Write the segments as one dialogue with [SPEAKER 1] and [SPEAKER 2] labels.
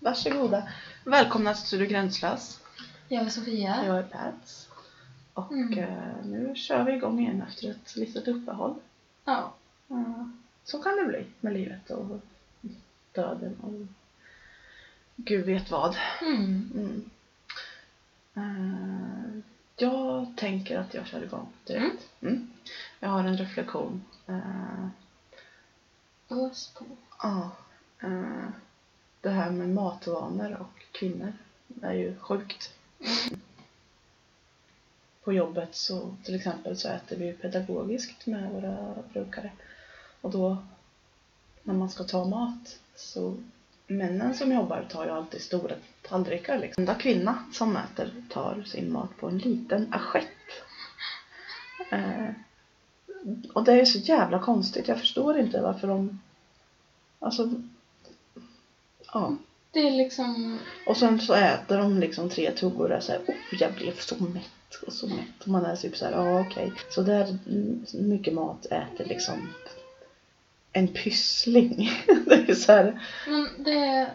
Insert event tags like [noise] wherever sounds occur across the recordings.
[SPEAKER 1] Varsågoda. Välkomna till Studio Gränslös.
[SPEAKER 2] Jag är Sofia.
[SPEAKER 1] Jag är Pats. Och
[SPEAKER 2] Mm.
[SPEAKER 1] eh, nu kör vi igång igen efter ett litet uppehåll.
[SPEAKER 2] Ja.
[SPEAKER 1] Ja, Så kan det bli med livet och döden och gud vet vad.
[SPEAKER 2] Mm.
[SPEAKER 1] Mm. Eh, jag tänker att jag kör igång direkt. Mm. Jag har en reflektion. Eh,
[SPEAKER 2] Ös på.
[SPEAKER 1] Ja. eh, Det här med matvanor och kvinnor är ju sjukt. På jobbet så till exempel så äter vi ju pedagogiskt med våra brukare. Och då när man ska ta mat så männen som jobbar tar ju alltid stora tallrikar liksom. Enda kvinna som äter tar sin mat på en liten assiett. Eh, och det är ju så jävla konstigt. Jag förstår inte varför de Alltså, ja.
[SPEAKER 2] Det är liksom...
[SPEAKER 1] Och sen så äter de liksom tre tuggor och är såhär, oh jag blev så mätt och så mätt. Och man är typ såhär, ja okej. Så där mm, mycket mat äter liksom en pyssling. [laughs] det är såhär,
[SPEAKER 2] Men det är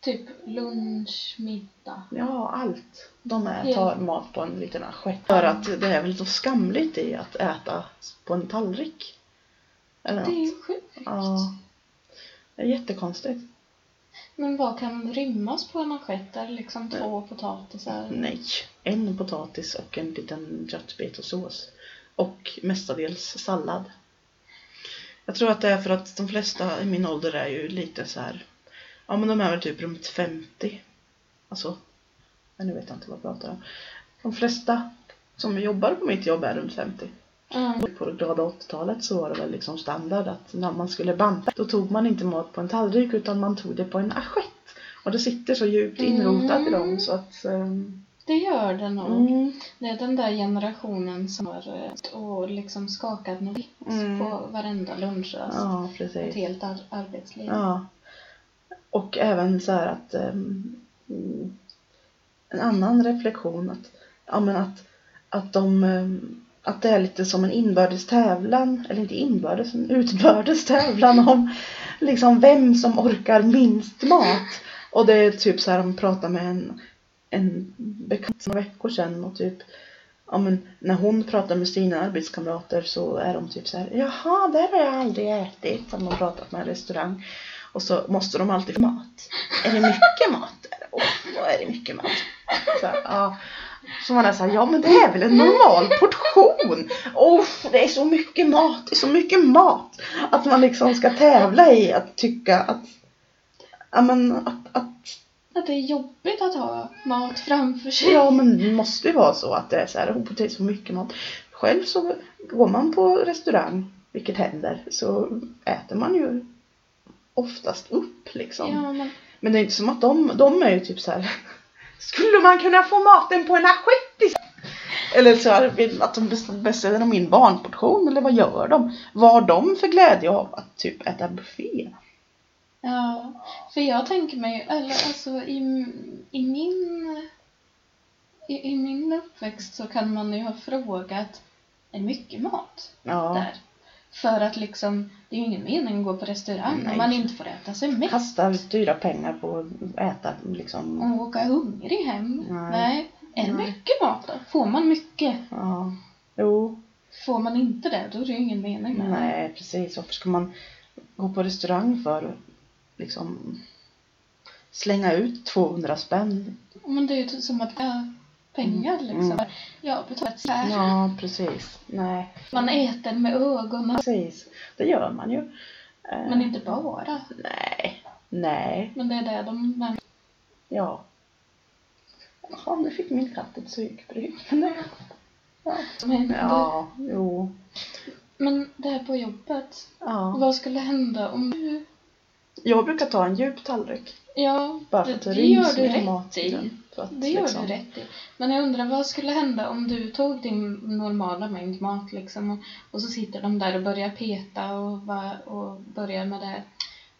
[SPEAKER 2] typ lunch, middag.
[SPEAKER 1] ja allt. De är, tar mat på en liten assiett. För att det är väl så skamligt i att äta på en tallrik. Eller
[SPEAKER 2] Det är
[SPEAKER 1] något.
[SPEAKER 2] ju sjukt.
[SPEAKER 1] Ja. Det är jättekonstigt.
[SPEAKER 2] Men vad kan rymmas på en manschett? Är det liksom två potatisar?
[SPEAKER 1] Nej, en potatis och en liten köttbit och sås. Och mestadels sallad. Jag tror att det är för att de flesta i min ålder är ju lite så här. Ja men de är väl typ runt 50. Alltså, men nu vet jag inte vad jag pratar om. De flesta som jobbar på mitt jobb är runt 50.
[SPEAKER 2] Mm.
[SPEAKER 1] På det glada 80-talet så var det väl liksom standard att när man skulle banta då tog man inte mat på en tallrik utan man tog det på en assiett. Och det sitter så djupt inrotat i dem så att ehm,
[SPEAKER 2] Det gör det nog.
[SPEAKER 1] Mm.
[SPEAKER 2] Det är den där generationen som har eh, och liksom skakat något vitt
[SPEAKER 1] Mm.
[SPEAKER 2] på varenda lunchrast.
[SPEAKER 1] Ja,
[SPEAKER 2] Ett
[SPEAKER 1] precis.
[SPEAKER 2] helt ar- arbetsliv.
[SPEAKER 1] Ja. Och även så här att ehm, mm, en annan reflektion att, ja, men att, att, de, ehm, att det är lite som en inbördes tävlan, eller inte inbördes, en utbördes tävlan om liksom vem som orkar minst mat. Och det är typ så här, de pratar med en, en bekant för några veckor sedan och typ Ja men när hon pratar med sina arbetskamrater så är de typ så här Jaha, där har jag aldrig ätit som de pratat med en restaurang Och så måste de alltid få mat Är det mycket mat? Åh, vad är det mycket mat? Så, här, ja. så man är så här, ja men det är väl en normal portion Åh, det är så mycket mat, det är så mycket mat Att man liksom ska tävla i att tycka att Ja men att, att
[SPEAKER 2] Att det är jobbigt att ha mat framför sig.
[SPEAKER 1] Ja men det måste ju vara så att det är så här, oh, det är så mycket mat. Själv så går man på restaurang, vilket händer, så äter man ju oftast upp liksom.
[SPEAKER 2] Ja, men
[SPEAKER 1] Men det är inte som att de, de är ju typ så här. [laughs] Skulle man kunna få maten på en assiett istället?" Eller så här, vill att de bes- beställer de in barnportion eller vad gör de? Vad har de för glädje av att typ äta buffé?
[SPEAKER 2] Ja, för jag tänker mig, eller alltså i, i min i, i min uppväxt så kan man ju ha frågat är det mycket mat
[SPEAKER 1] Ja,
[SPEAKER 2] där? För att liksom, det är ju ingen mening att gå på restaurang
[SPEAKER 1] Nej.
[SPEAKER 2] om man inte får äta sig mätt
[SPEAKER 1] kastar dyra pengar på att äta liksom.
[SPEAKER 2] och åka hungrig hem.
[SPEAKER 1] Nej.
[SPEAKER 2] Nej. Är det
[SPEAKER 1] Nej.
[SPEAKER 2] mycket mat då? Får man mycket?
[SPEAKER 1] Ja, jo.
[SPEAKER 2] Får man inte det, då är det ju ingen mening med det.
[SPEAKER 1] Nej, precis. Varför ska man gå på restaurang för att liksom slänga ut 200 spänn?
[SPEAKER 2] Men det är ju typ som att äh, pengar liksom.
[SPEAKER 1] Mm.
[SPEAKER 2] Jag betalar så här.
[SPEAKER 1] Ja, precis. Nej,
[SPEAKER 2] Man äter med ögonen,
[SPEAKER 1] precis. Det gör man ju. Eh,
[SPEAKER 2] men inte bara.
[SPEAKER 1] Nej, nej,
[SPEAKER 2] Men det är det de märker.
[SPEAKER 1] ja. Jaha, nu fick min katt ett psykbryt. [laughs] Nej.
[SPEAKER 2] som händer.
[SPEAKER 1] Ja, jo.
[SPEAKER 2] Men det här på jobbet,
[SPEAKER 1] Ja.
[SPEAKER 2] vad skulle hända om du...
[SPEAKER 1] Jag brukar ta en djup tallrik.
[SPEAKER 2] Ja,
[SPEAKER 1] Bara för
[SPEAKER 2] det,
[SPEAKER 1] att det,
[SPEAKER 2] det gör
[SPEAKER 1] ryms
[SPEAKER 2] du
[SPEAKER 1] mer
[SPEAKER 2] rätt
[SPEAKER 1] mat i
[SPEAKER 2] i.
[SPEAKER 1] den. För att
[SPEAKER 2] Det gör
[SPEAKER 1] liksom-
[SPEAKER 2] du rätt i. Men jag undrar, vad skulle hända om du tog din normala mängd mat liksom och, och så sitter de där och börjar peta och, va- och börjar med det här.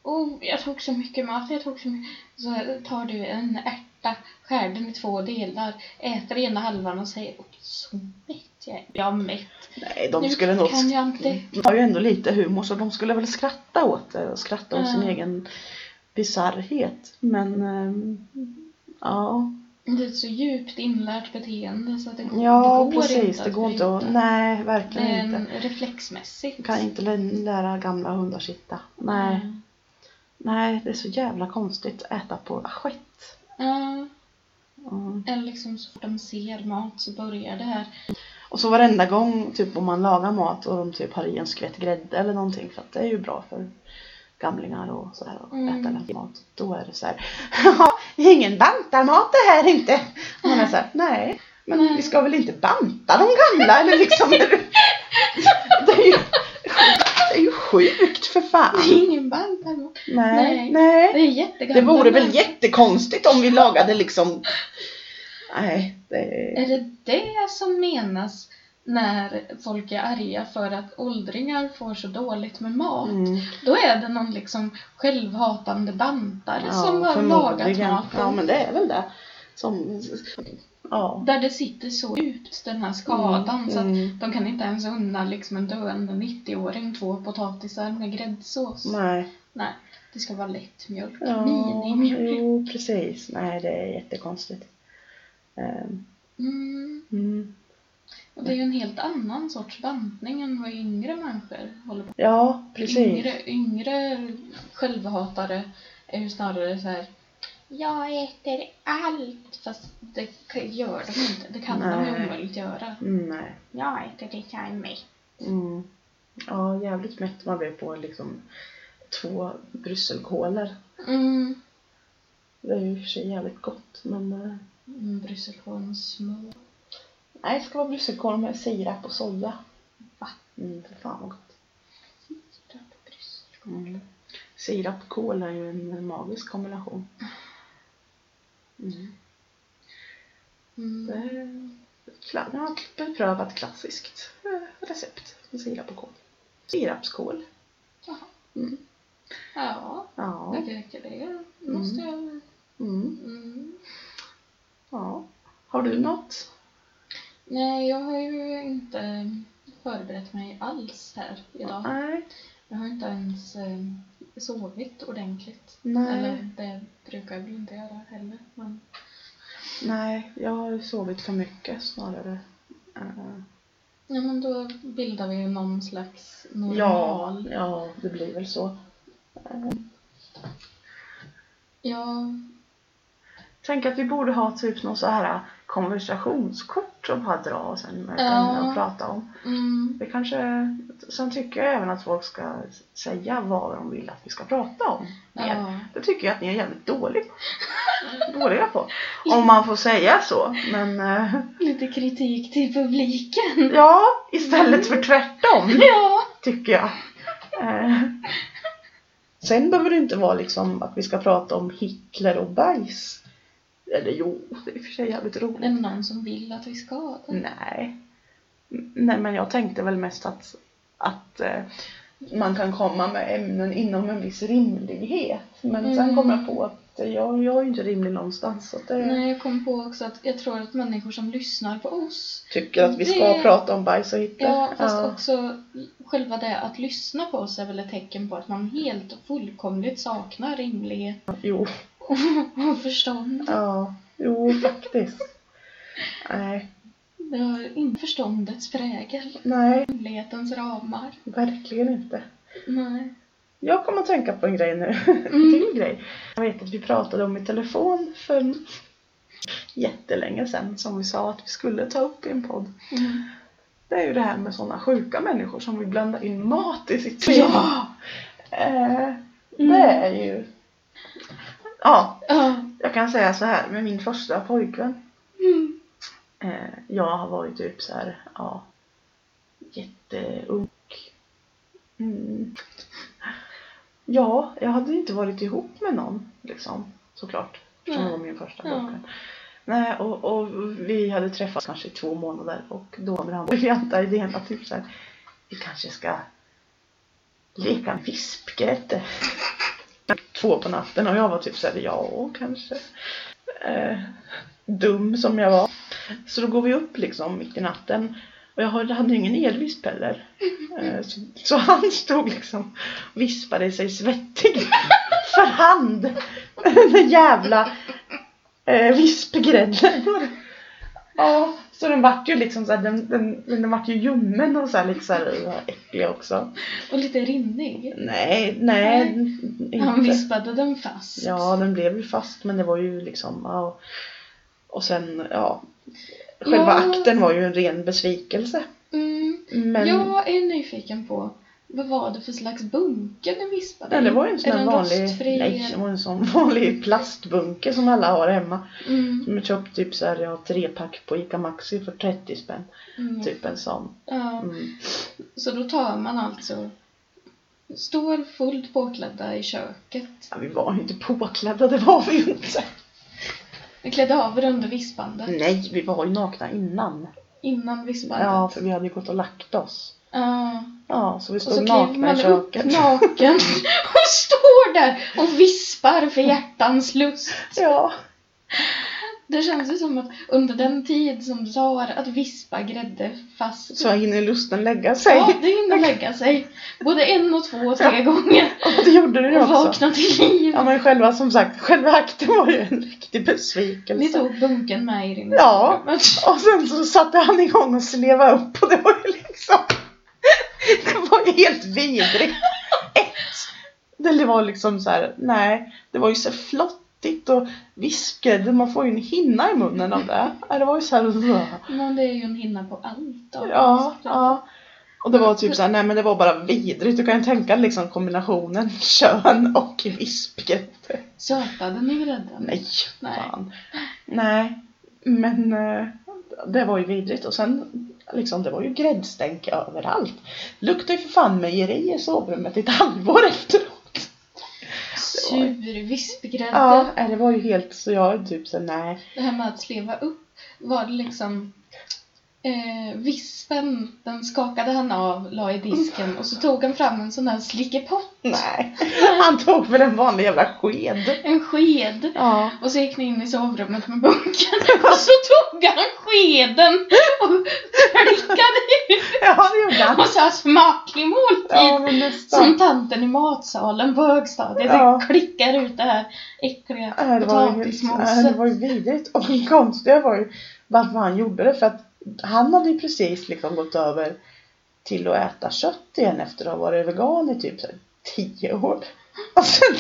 [SPEAKER 2] Oh, jag tog så mycket mat, jag tog så mycket. Så tar du en ärta, skär den i två delar, äter ena halvan och säger oh, så mätt jag är. Jag är mätt.
[SPEAKER 1] Nej, de
[SPEAKER 2] Nu
[SPEAKER 1] skulle nog...
[SPEAKER 2] kan jag inte.
[SPEAKER 1] De har ju ändå lite humor så de skulle väl skratta åt det och skratta åt sin
[SPEAKER 2] Ja.
[SPEAKER 1] egen bisarrhet. Men ehm, ja,
[SPEAKER 2] Det är ett så djupt inlärt beteende så att det,
[SPEAKER 1] ja
[SPEAKER 2] det går
[SPEAKER 1] precis.
[SPEAKER 2] inte
[SPEAKER 1] Det
[SPEAKER 2] att
[SPEAKER 1] går inte att...
[SPEAKER 2] bryta.
[SPEAKER 1] Nej,
[SPEAKER 2] Det
[SPEAKER 1] verkligen
[SPEAKER 2] är
[SPEAKER 1] inte.
[SPEAKER 2] en reflexmässigt.
[SPEAKER 1] Du kan inte lä- lära gamla hundar sitta. Nej,
[SPEAKER 2] Mm.
[SPEAKER 1] nej det är så jävla konstigt att äta på assiett.
[SPEAKER 2] Ja,
[SPEAKER 1] Mm.
[SPEAKER 2] eller liksom så fort de ser mat så börjar det här. [laughs]
[SPEAKER 1] Och så varenda gång typ om man lagar mat och de typ har i en skvätt grädde eller någonting för att det är ju bra för gamlingar och så här och
[SPEAKER 2] Mm.
[SPEAKER 1] äta lätt mat. Då är det så här. "Ja, det är ingen bantarmat det här inte. Och man är så här, nej. Men
[SPEAKER 2] Nej.
[SPEAKER 1] vi ska väl inte banta de gamla eller
[SPEAKER 2] [laughs]
[SPEAKER 1] liksom. det är ju, det är ju sjukt för fan.
[SPEAKER 2] Det är ingen band här.
[SPEAKER 1] Nej,
[SPEAKER 2] Nej.
[SPEAKER 1] nej.
[SPEAKER 2] Det är jättegammalt.
[SPEAKER 1] Det vore väl jättekonstigt om vi lagade liksom... Nej, det...
[SPEAKER 2] Är det det som menas när folk är arga för att åldringar får så dåligt med mat?
[SPEAKER 1] Mm.
[SPEAKER 2] Då är det någon liksom självhatande bantare som har lagat
[SPEAKER 1] förmodligen.
[SPEAKER 2] maten.
[SPEAKER 1] Ja, men det är väl det. Som... Ja.
[SPEAKER 2] Där det sitter så djupt, den här skadan, så att
[SPEAKER 1] Mm.
[SPEAKER 2] de kan inte ens unna liksom en döende 90-åring två potatisar med gräddsås.
[SPEAKER 1] Nej.
[SPEAKER 2] Nej, det ska vara lätt mjölk.
[SPEAKER 1] Ja,
[SPEAKER 2] Minimjölk.
[SPEAKER 1] jo, precis. Nej, det är jättekonstigt. Ehm,
[SPEAKER 2] Mm.
[SPEAKER 1] Mm.
[SPEAKER 2] Och det är ju en helt annan sorts bantning än vad yngre människor håller på
[SPEAKER 1] Ja, precis.
[SPEAKER 2] Yngre, yngre självhatare är ju snarare så här. Jag äter allt! Fast det k- gör de inte. Det kan de
[SPEAKER 1] Nej.
[SPEAKER 2] ju omöjligt göra.
[SPEAKER 1] Mm, nej.
[SPEAKER 2] Jag äter det jag är mätt.
[SPEAKER 1] Mm. Ja, jävligt mätt man blev på liksom två brysselkålor.
[SPEAKER 2] Mm.
[SPEAKER 1] Det är ju i och för sig jävligt gott, men... eh,
[SPEAKER 2] Mm, Brysselkål med smör.
[SPEAKER 1] Nej, det ska vara brysselkål med sirap och soja.
[SPEAKER 2] Va?
[SPEAKER 1] Mm, för fan vad gott.
[SPEAKER 2] Brysselkål.
[SPEAKER 1] Mm. Sirap och kål är ju en magisk kombination. Mm. Det
[SPEAKER 2] Mm.
[SPEAKER 1] är kla- jag har beprövat klassiskt eh, recept med sirap och kål. Sirapskål.
[SPEAKER 2] Jaha.
[SPEAKER 1] Mm.
[SPEAKER 2] Ja,
[SPEAKER 1] Ja.
[SPEAKER 2] det räcker det. Måste jag...
[SPEAKER 1] Mm.
[SPEAKER 2] Mm.
[SPEAKER 1] ja. Har du något?
[SPEAKER 2] Nej, jag har ju inte förberett mig alls här idag.
[SPEAKER 1] Nej.
[SPEAKER 2] Jag har inte ens eh, sovit ordentligt.
[SPEAKER 1] Nej.
[SPEAKER 2] Eller det brukar jag väl inte göra heller. Men,
[SPEAKER 1] Nej, jag har sovit för mycket snarare. Eh,
[SPEAKER 2] Mm. ja, men då bildar vi ju någon slags normal.
[SPEAKER 1] ja, det blir väl så.
[SPEAKER 2] Ja.
[SPEAKER 1] Tänk att vi borde ha typ någon så här konversationskort som bara dra och sen ett
[SPEAKER 2] Ja.
[SPEAKER 1] ämne att prata om.
[SPEAKER 2] Mm,
[SPEAKER 1] Det kanske, sen tycker jag även att folk ska säga vad de vill att vi ska prata om. mer.
[SPEAKER 2] ja.
[SPEAKER 1] Det tycker jag att ni är jävligt dåliga på. dåliga på. Om man får säga så. Men eh,
[SPEAKER 2] Lite kritik till publiken. [laughs]
[SPEAKER 1] ja, istället för tvärtom
[SPEAKER 2] Ja.
[SPEAKER 1] tycker jag. Eh, Sen behöver det inte vara liksom att vi ska prata om Hitler och bajs. Eller jo, det är i och för sig jävligt roligt.
[SPEAKER 2] Är det någon som vill att vi ska det?
[SPEAKER 1] Nej. N- Nej men jag tänkte väl mest att, att eh, man kan komma med ämnen inom en viss rimlighet. Men sen
[SPEAKER 2] Mm.
[SPEAKER 1] kom jag på att jag, jag är ju inte rimlig någonstans. Så att det,
[SPEAKER 2] Nej, jag kom på också att jag tror att människor som lyssnar på oss
[SPEAKER 1] tycker att vi ska
[SPEAKER 2] Det-
[SPEAKER 1] prata om bajs och Hitler.
[SPEAKER 2] Ja, fast också själva det att lyssna på oss är väl ett tecken på att man helt och fullkomligt saknar rimlighet
[SPEAKER 1] Jo,
[SPEAKER 2] och förstånd.
[SPEAKER 1] ja, jo faktiskt. Nej,
[SPEAKER 2] Det har inte förståndets prägel,
[SPEAKER 1] nej,
[SPEAKER 2] rimlighetens ramar.
[SPEAKER 1] verkligen inte.
[SPEAKER 2] Nej.
[SPEAKER 1] Jag kommer att tänka på en grej nu. [laughs] En
[SPEAKER 2] Mm.
[SPEAKER 1] till grej. Jag vet att vi pratade om i telefon för jättelänge sedan som vi sa att vi skulle ta upp i en podd.
[SPEAKER 2] Mm.
[SPEAKER 1] Det är ju det här med sådana sjuka människor som vill blanda in mat i sitt liv.
[SPEAKER 2] Ja!
[SPEAKER 1] Eh,
[SPEAKER 2] Mm.
[SPEAKER 1] det är ju... Ja,
[SPEAKER 2] Ja.
[SPEAKER 1] jag kan säga så här med min första pojkvän.
[SPEAKER 2] Mm.
[SPEAKER 1] Eh, jag var ju typ så här, ja, jätteung. Mm. Ja, jag hade ju inte varit ihop med någon, liksom, såklart. Som
[SPEAKER 2] Nej.
[SPEAKER 1] var min första
[SPEAKER 2] Ja.
[SPEAKER 1] pojkvän. Nej, och, och vi hade träffats kanske i två månader och då kom den briljanta idén att typ så här, vi kanske ska leka vispgrädde. Två på natten och jag var typ såhär, ja kanske. Eh, dum som jag var. Så då går vi upp liksom mitt i natten. Och jag hade hade ju ingen elvisp heller. Eh, så, så han stod liksom och vispade sig svettig. [laughs] för hand. [laughs] Den jävla eh, vispgrädden. [laughs] Ja, så den vart ju liksom såhär, den, den, men den vart ju ljummen och såhär lite såhär äcklig också.
[SPEAKER 2] Och lite rinnig.
[SPEAKER 1] Nej, nej,
[SPEAKER 2] Han
[SPEAKER 1] inte.
[SPEAKER 2] vispade den fast.
[SPEAKER 1] Ja, den blev ju fast men det var ju liksom, ja. Och sen, ja.
[SPEAKER 2] Ja.
[SPEAKER 1] Själva akten var ju en ren besvikelse.
[SPEAKER 2] Mm.
[SPEAKER 1] Men,
[SPEAKER 2] Jag är nyfiken på, vad var det för slags bunke den vispade
[SPEAKER 1] nej,
[SPEAKER 2] i?
[SPEAKER 1] det var ju en sån
[SPEAKER 2] Är
[SPEAKER 1] här
[SPEAKER 2] den
[SPEAKER 1] vanlig,
[SPEAKER 2] rostfri?
[SPEAKER 1] nej, det var en sån [laughs] vanlig plastbunke som alla har hemma.
[SPEAKER 2] Mm.
[SPEAKER 1] Som jag köpt typ såhär, ja, trepack på Ica Maxi för 30 spänn.
[SPEAKER 2] Mm.
[SPEAKER 1] Typ en sån.
[SPEAKER 2] Ja.
[SPEAKER 1] Mm.
[SPEAKER 2] Så då tar man alltså står fullt påklädda i köket.
[SPEAKER 1] Ja, vi var ju inte påklädda, det var vi ju inte.
[SPEAKER 2] Vi klädde av er under vispandet.
[SPEAKER 1] Nej, vi var ju nakna innan.
[SPEAKER 2] Innan vispandet.
[SPEAKER 1] Ja, för vi hade ju gått och lagt oss.
[SPEAKER 2] Ja.
[SPEAKER 1] Ja, så vi
[SPEAKER 2] och så
[SPEAKER 1] stod
[SPEAKER 2] kliver
[SPEAKER 1] nakna
[SPEAKER 2] man
[SPEAKER 1] i
[SPEAKER 2] upp
[SPEAKER 1] köket. [laughs]
[SPEAKER 2] naken [laughs] och står där och vispar för hjärtans lust.
[SPEAKER 1] Ja.
[SPEAKER 2] Det känns ju som att under den tid som det tar att vispa grädde fast
[SPEAKER 1] Så hinner lusten lägga sig. [laughs]
[SPEAKER 2] Ja, det hinner lägga sig. Både en och två och tre gånger.
[SPEAKER 1] Och det gjorde den ju
[SPEAKER 2] Och
[SPEAKER 1] också.
[SPEAKER 2] vakna till liv.
[SPEAKER 1] Ja men själva som sagt, själva akten var ju en riktig besvikelse.
[SPEAKER 2] Ni tog bunken med er in i
[SPEAKER 1] Ja.
[SPEAKER 2] sovrummet.
[SPEAKER 1] Och sen så satte han igång och sleva upp och det var ju liksom [laughs] Det var ju helt vidrigt. Ett. Det var liksom så här, nej, det var ju så flottigt och vispgrädde, man får ju en hinna i munnen av det. Ja, Det var ju så här,
[SPEAKER 2] Men det är ju en hinna på allt då.
[SPEAKER 1] ja, ja. Och det var typ så här, nej men det var bara vidrigt, du kan ju tänka liksom kombinationen kön och vispgrädde.
[SPEAKER 2] Sötade ni grädden?
[SPEAKER 1] Nej,
[SPEAKER 2] Nej.
[SPEAKER 1] fan. Nej, men eh, det var ju vidrigt. Och sen, liksom, det var ju gräddstänk överallt. Luktade ju för fan mejeri i sovrummet i ett halvår efteråt. det var
[SPEAKER 2] Sur vispgrädde.
[SPEAKER 1] Ja, nej, det var ju helt så jag typ så nej.
[SPEAKER 2] Det här med att sleva upp. Var det liksom eh, vispen, den skakade han av, la i disken och så tog han fram en sån här slickepott. [laughs]
[SPEAKER 1] Nej, han tog väl en vanlig jävla sked.
[SPEAKER 2] En sked.
[SPEAKER 1] Ja.
[SPEAKER 2] Och så gick ni in i sovrummet med bunken [laughs] och så tog han skeden och [laughs] slickade ut.
[SPEAKER 1] ja, det gjorde han.
[SPEAKER 2] Och så här smaklig måltid.
[SPEAKER 1] Ja, men nästan.
[SPEAKER 2] Som tanten i matsalen på högstadiet
[SPEAKER 1] Ja.
[SPEAKER 2] klickar ut det här äckliga
[SPEAKER 1] Nej, Äh, Det var, ju, nej, det
[SPEAKER 2] potatismoset.
[SPEAKER 1] var ju vidrigt. Och [laughs] det konstiga var ju varför han gjorde det. För att han hade ju precis liksom gått över till att äta kött igen efter att ha varit vegan i typ så här, tio år. [laughs] Och sen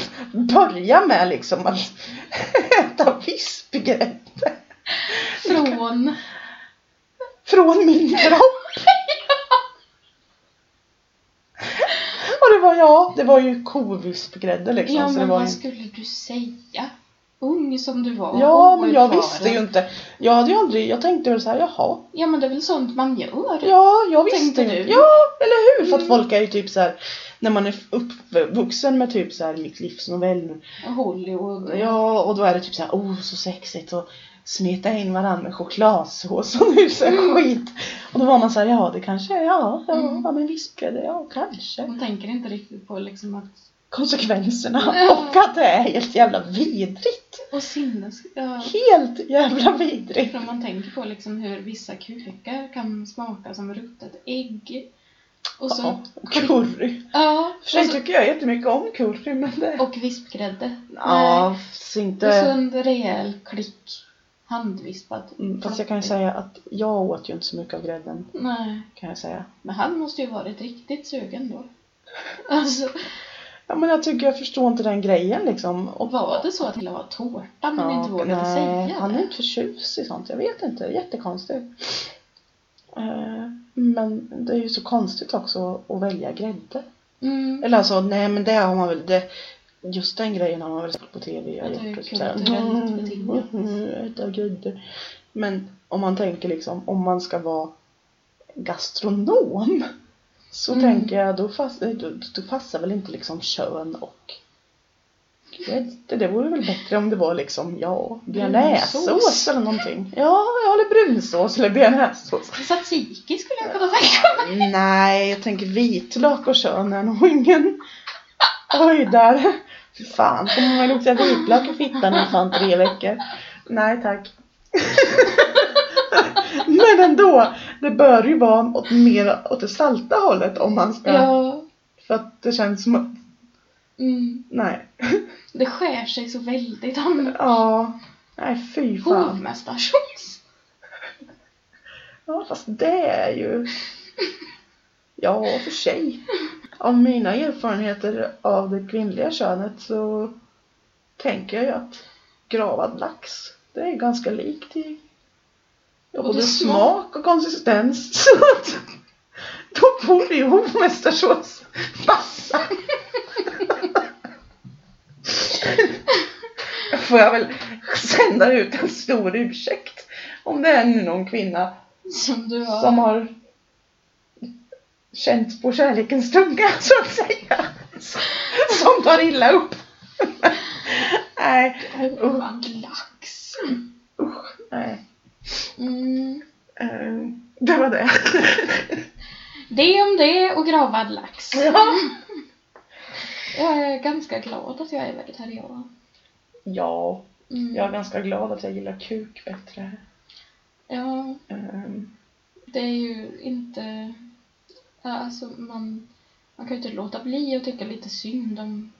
[SPEAKER 1] börja med liksom att [laughs] äta vispgrädde
[SPEAKER 2] Från...
[SPEAKER 1] från min kropp. [laughs] Och det var, ja, det var ju kovispgrädde liksom.
[SPEAKER 2] Ja,
[SPEAKER 1] så det
[SPEAKER 2] men
[SPEAKER 1] var
[SPEAKER 2] vad
[SPEAKER 1] ju-
[SPEAKER 2] skulle du säga? Ung som du var.
[SPEAKER 1] ja men jag
[SPEAKER 2] oerfaren.
[SPEAKER 1] visste ju inte. Jag hade ju aldrig, jag tänkte väl så här, jaha,
[SPEAKER 2] Ja, men det är väl sånt man gör?
[SPEAKER 1] Ja, jag
[SPEAKER 2] Tänkte
[SPEAKER 1] visste
[SPEAKER 2] du?
[SPEAKER 1] ju. Ja, eller hur? För att
[SPEAKER 2] Mm.
[SPEAKER 1] folk är ju typ så här när man är uppvuxen med typ så här mitt livs novell.
[SPEAKER 2] Hollywood.
[SPEAKER 1] Ja, och då är det typ så här, oh så sexigt och smeta in varandra med chokladsås och nu så här skit. Och då var man så här, ja det kanske, är- ja, ja,
[SPEAKER 2] Mm.
[SPEAKER 1] ja men visst är det, ja kanske.
[SPEAKER 2] Man tänker inte riktigt på liksom att...
[SPEAKER 1] Konsekvenserna
[SPEAKER 2] Ja.
[SPEAKER 1] [laughs] och att det är helt jävla vidrigt.
[SPEAKER 2] Och sinnes... Ja.
[SPEAKER 1] Helt jävla vidrigt.
[SPEAKER 2] För om man tänker på liksom hur vissa kukar kan smaka som ruttet ägg. Och så...
[SPEAKER 1] Ja, curry.
[SPEAKER 2] Ja.
[SPEAKER 1] För sig
[SPEAKER 2] och, så,
[SPEAKER 1] tycker jag jättemycket om curry men det...
[SPEAKER 2] och vispgrädde. Nej.
[SPEAKER 1] Ja, så inte...
[SPEAKER 2] Och så en rejäl klick handvispad.
[SPEAKER 1] Mm, fast jag kan ju säga att jag åt ju inte så mycket av grädden.
[SPEAKER 2] Nej,
[SPEAKER 1] Kan jag säga.
[SPEAKER 2] men han måste ju varit riktigt sugen då. Alltså,
[SPEAKER 1] Ja men jag tycker jag förstår inte den grejen liksom. Och,
[SPEAKER 2] var det så att han ville ha tårta men
[SPEAKER 1] Ja,
[SPEAKER 2] inte vågade
[SPEAKER 1] nej,
[SPEAKER 2] säga
[SPEAKER 1] Han är
[SPEAKER 2] det?
[SPEAKER 1] inte förtjust i sånt. Jag vet inte. Jättekonstigt. Eh, Men det är ju så konstigt också att välja grädde.
[SPEAKER 2] Mm.
[SPEAKER 1] Eller alltså, nej men det har man väl, det, just den grejen har man väl sett på TV. Jag
[SPEAKER 2] Ja, det är
[SPEAKER 1] gjort och Mm,
[SPEAKER 2] kulturellt betingat.
[SPEAKER 1] sådär. Äta grädde. Men om man tänker liksom, om man ska vara gastronom. [laughs] Så
[SPEAKER 2] Mm.
[SPEAKER 1] tänker jag, då, fast, eh, då, då passar väl inte liksom kön och grädde. Det vore väl bättre om det var liksom, ja, bearnaisesås
[SPEAKER 2] Brunsås.
[SPEAKER 1] eller någonting. Ja, ja, eller brunsås eller bearnaisesås.
[SPEAKER 2] Tzatziki skulle jag kunna tänka mig.
[SPEAKER 1] Nej, jag tänker vitlök och kön är nog ingen höjdare. Fy fan, kommer man lukta vitlök i fittan om fan tre veckor? Nej tack. [laughs] Men ändå, det bör ju vara åt, mer åt det salta hållet om man ska.
[SPEAKER 2] Ja,
[SPEAKER 1] För att det känns som att
[SPEAKER 2] Mm.
[SPEAKER 1] Nej.
[SPEAKER 2] Det skär sig så väldigt annars.
[SPEAKER 1] Ja. Nej, fy fan.
[SPEAKER 2] Hovmästarkjols!
[SPEAKER 1] Ja, fast det är ju... Ja, för sig. Av mina erfarenheter av det kvinnliga könet så tänker jag ju att gravad lax, det är ganska likt i ja,
[SPEAKER 2] Både
[SPEAKER 1] både
[SPEAKER 2] smak-
[SPEAKER 1] smak och konsistens. [laughs] Så att då borde ju hovmästarsås passa. Får jag väl sända ut en stor ursäkt om det är någon kvinna
[SPEAKER 2] Som du har.
[SPEAKER 1] som har känt på kärlekens tunga [laughs] så att säga. Som tar illa [laughs] upp. nej,
[SPEAKER 2] Hovad lax.
[SPEAKER 1] usch, nej.
[SPEAKER 2] Mm.
[SPEAKER 1] Eh, det var det.
[SPEAKER 2] Det om det och gravad
[SPEAKER 1] [laughs]
[SPEAKER 2] lax.
[SPEAKER 1] ja.
[SPEAKER 2] Jag är ganska glad att jag är vegetarian.
[SPEAKER 1] ja,
[SPEAKER 2] Mm.
[SPEAKER 1] jag är ganska glad att jag gillar kuk bättre.
[SPEAKER 2] Ja,
[SPEAKER 1] Eh,
[SPEAKER 2] det är ju inte... ja, Alltså man, man kan ju inte låta bli att tycka lite synd om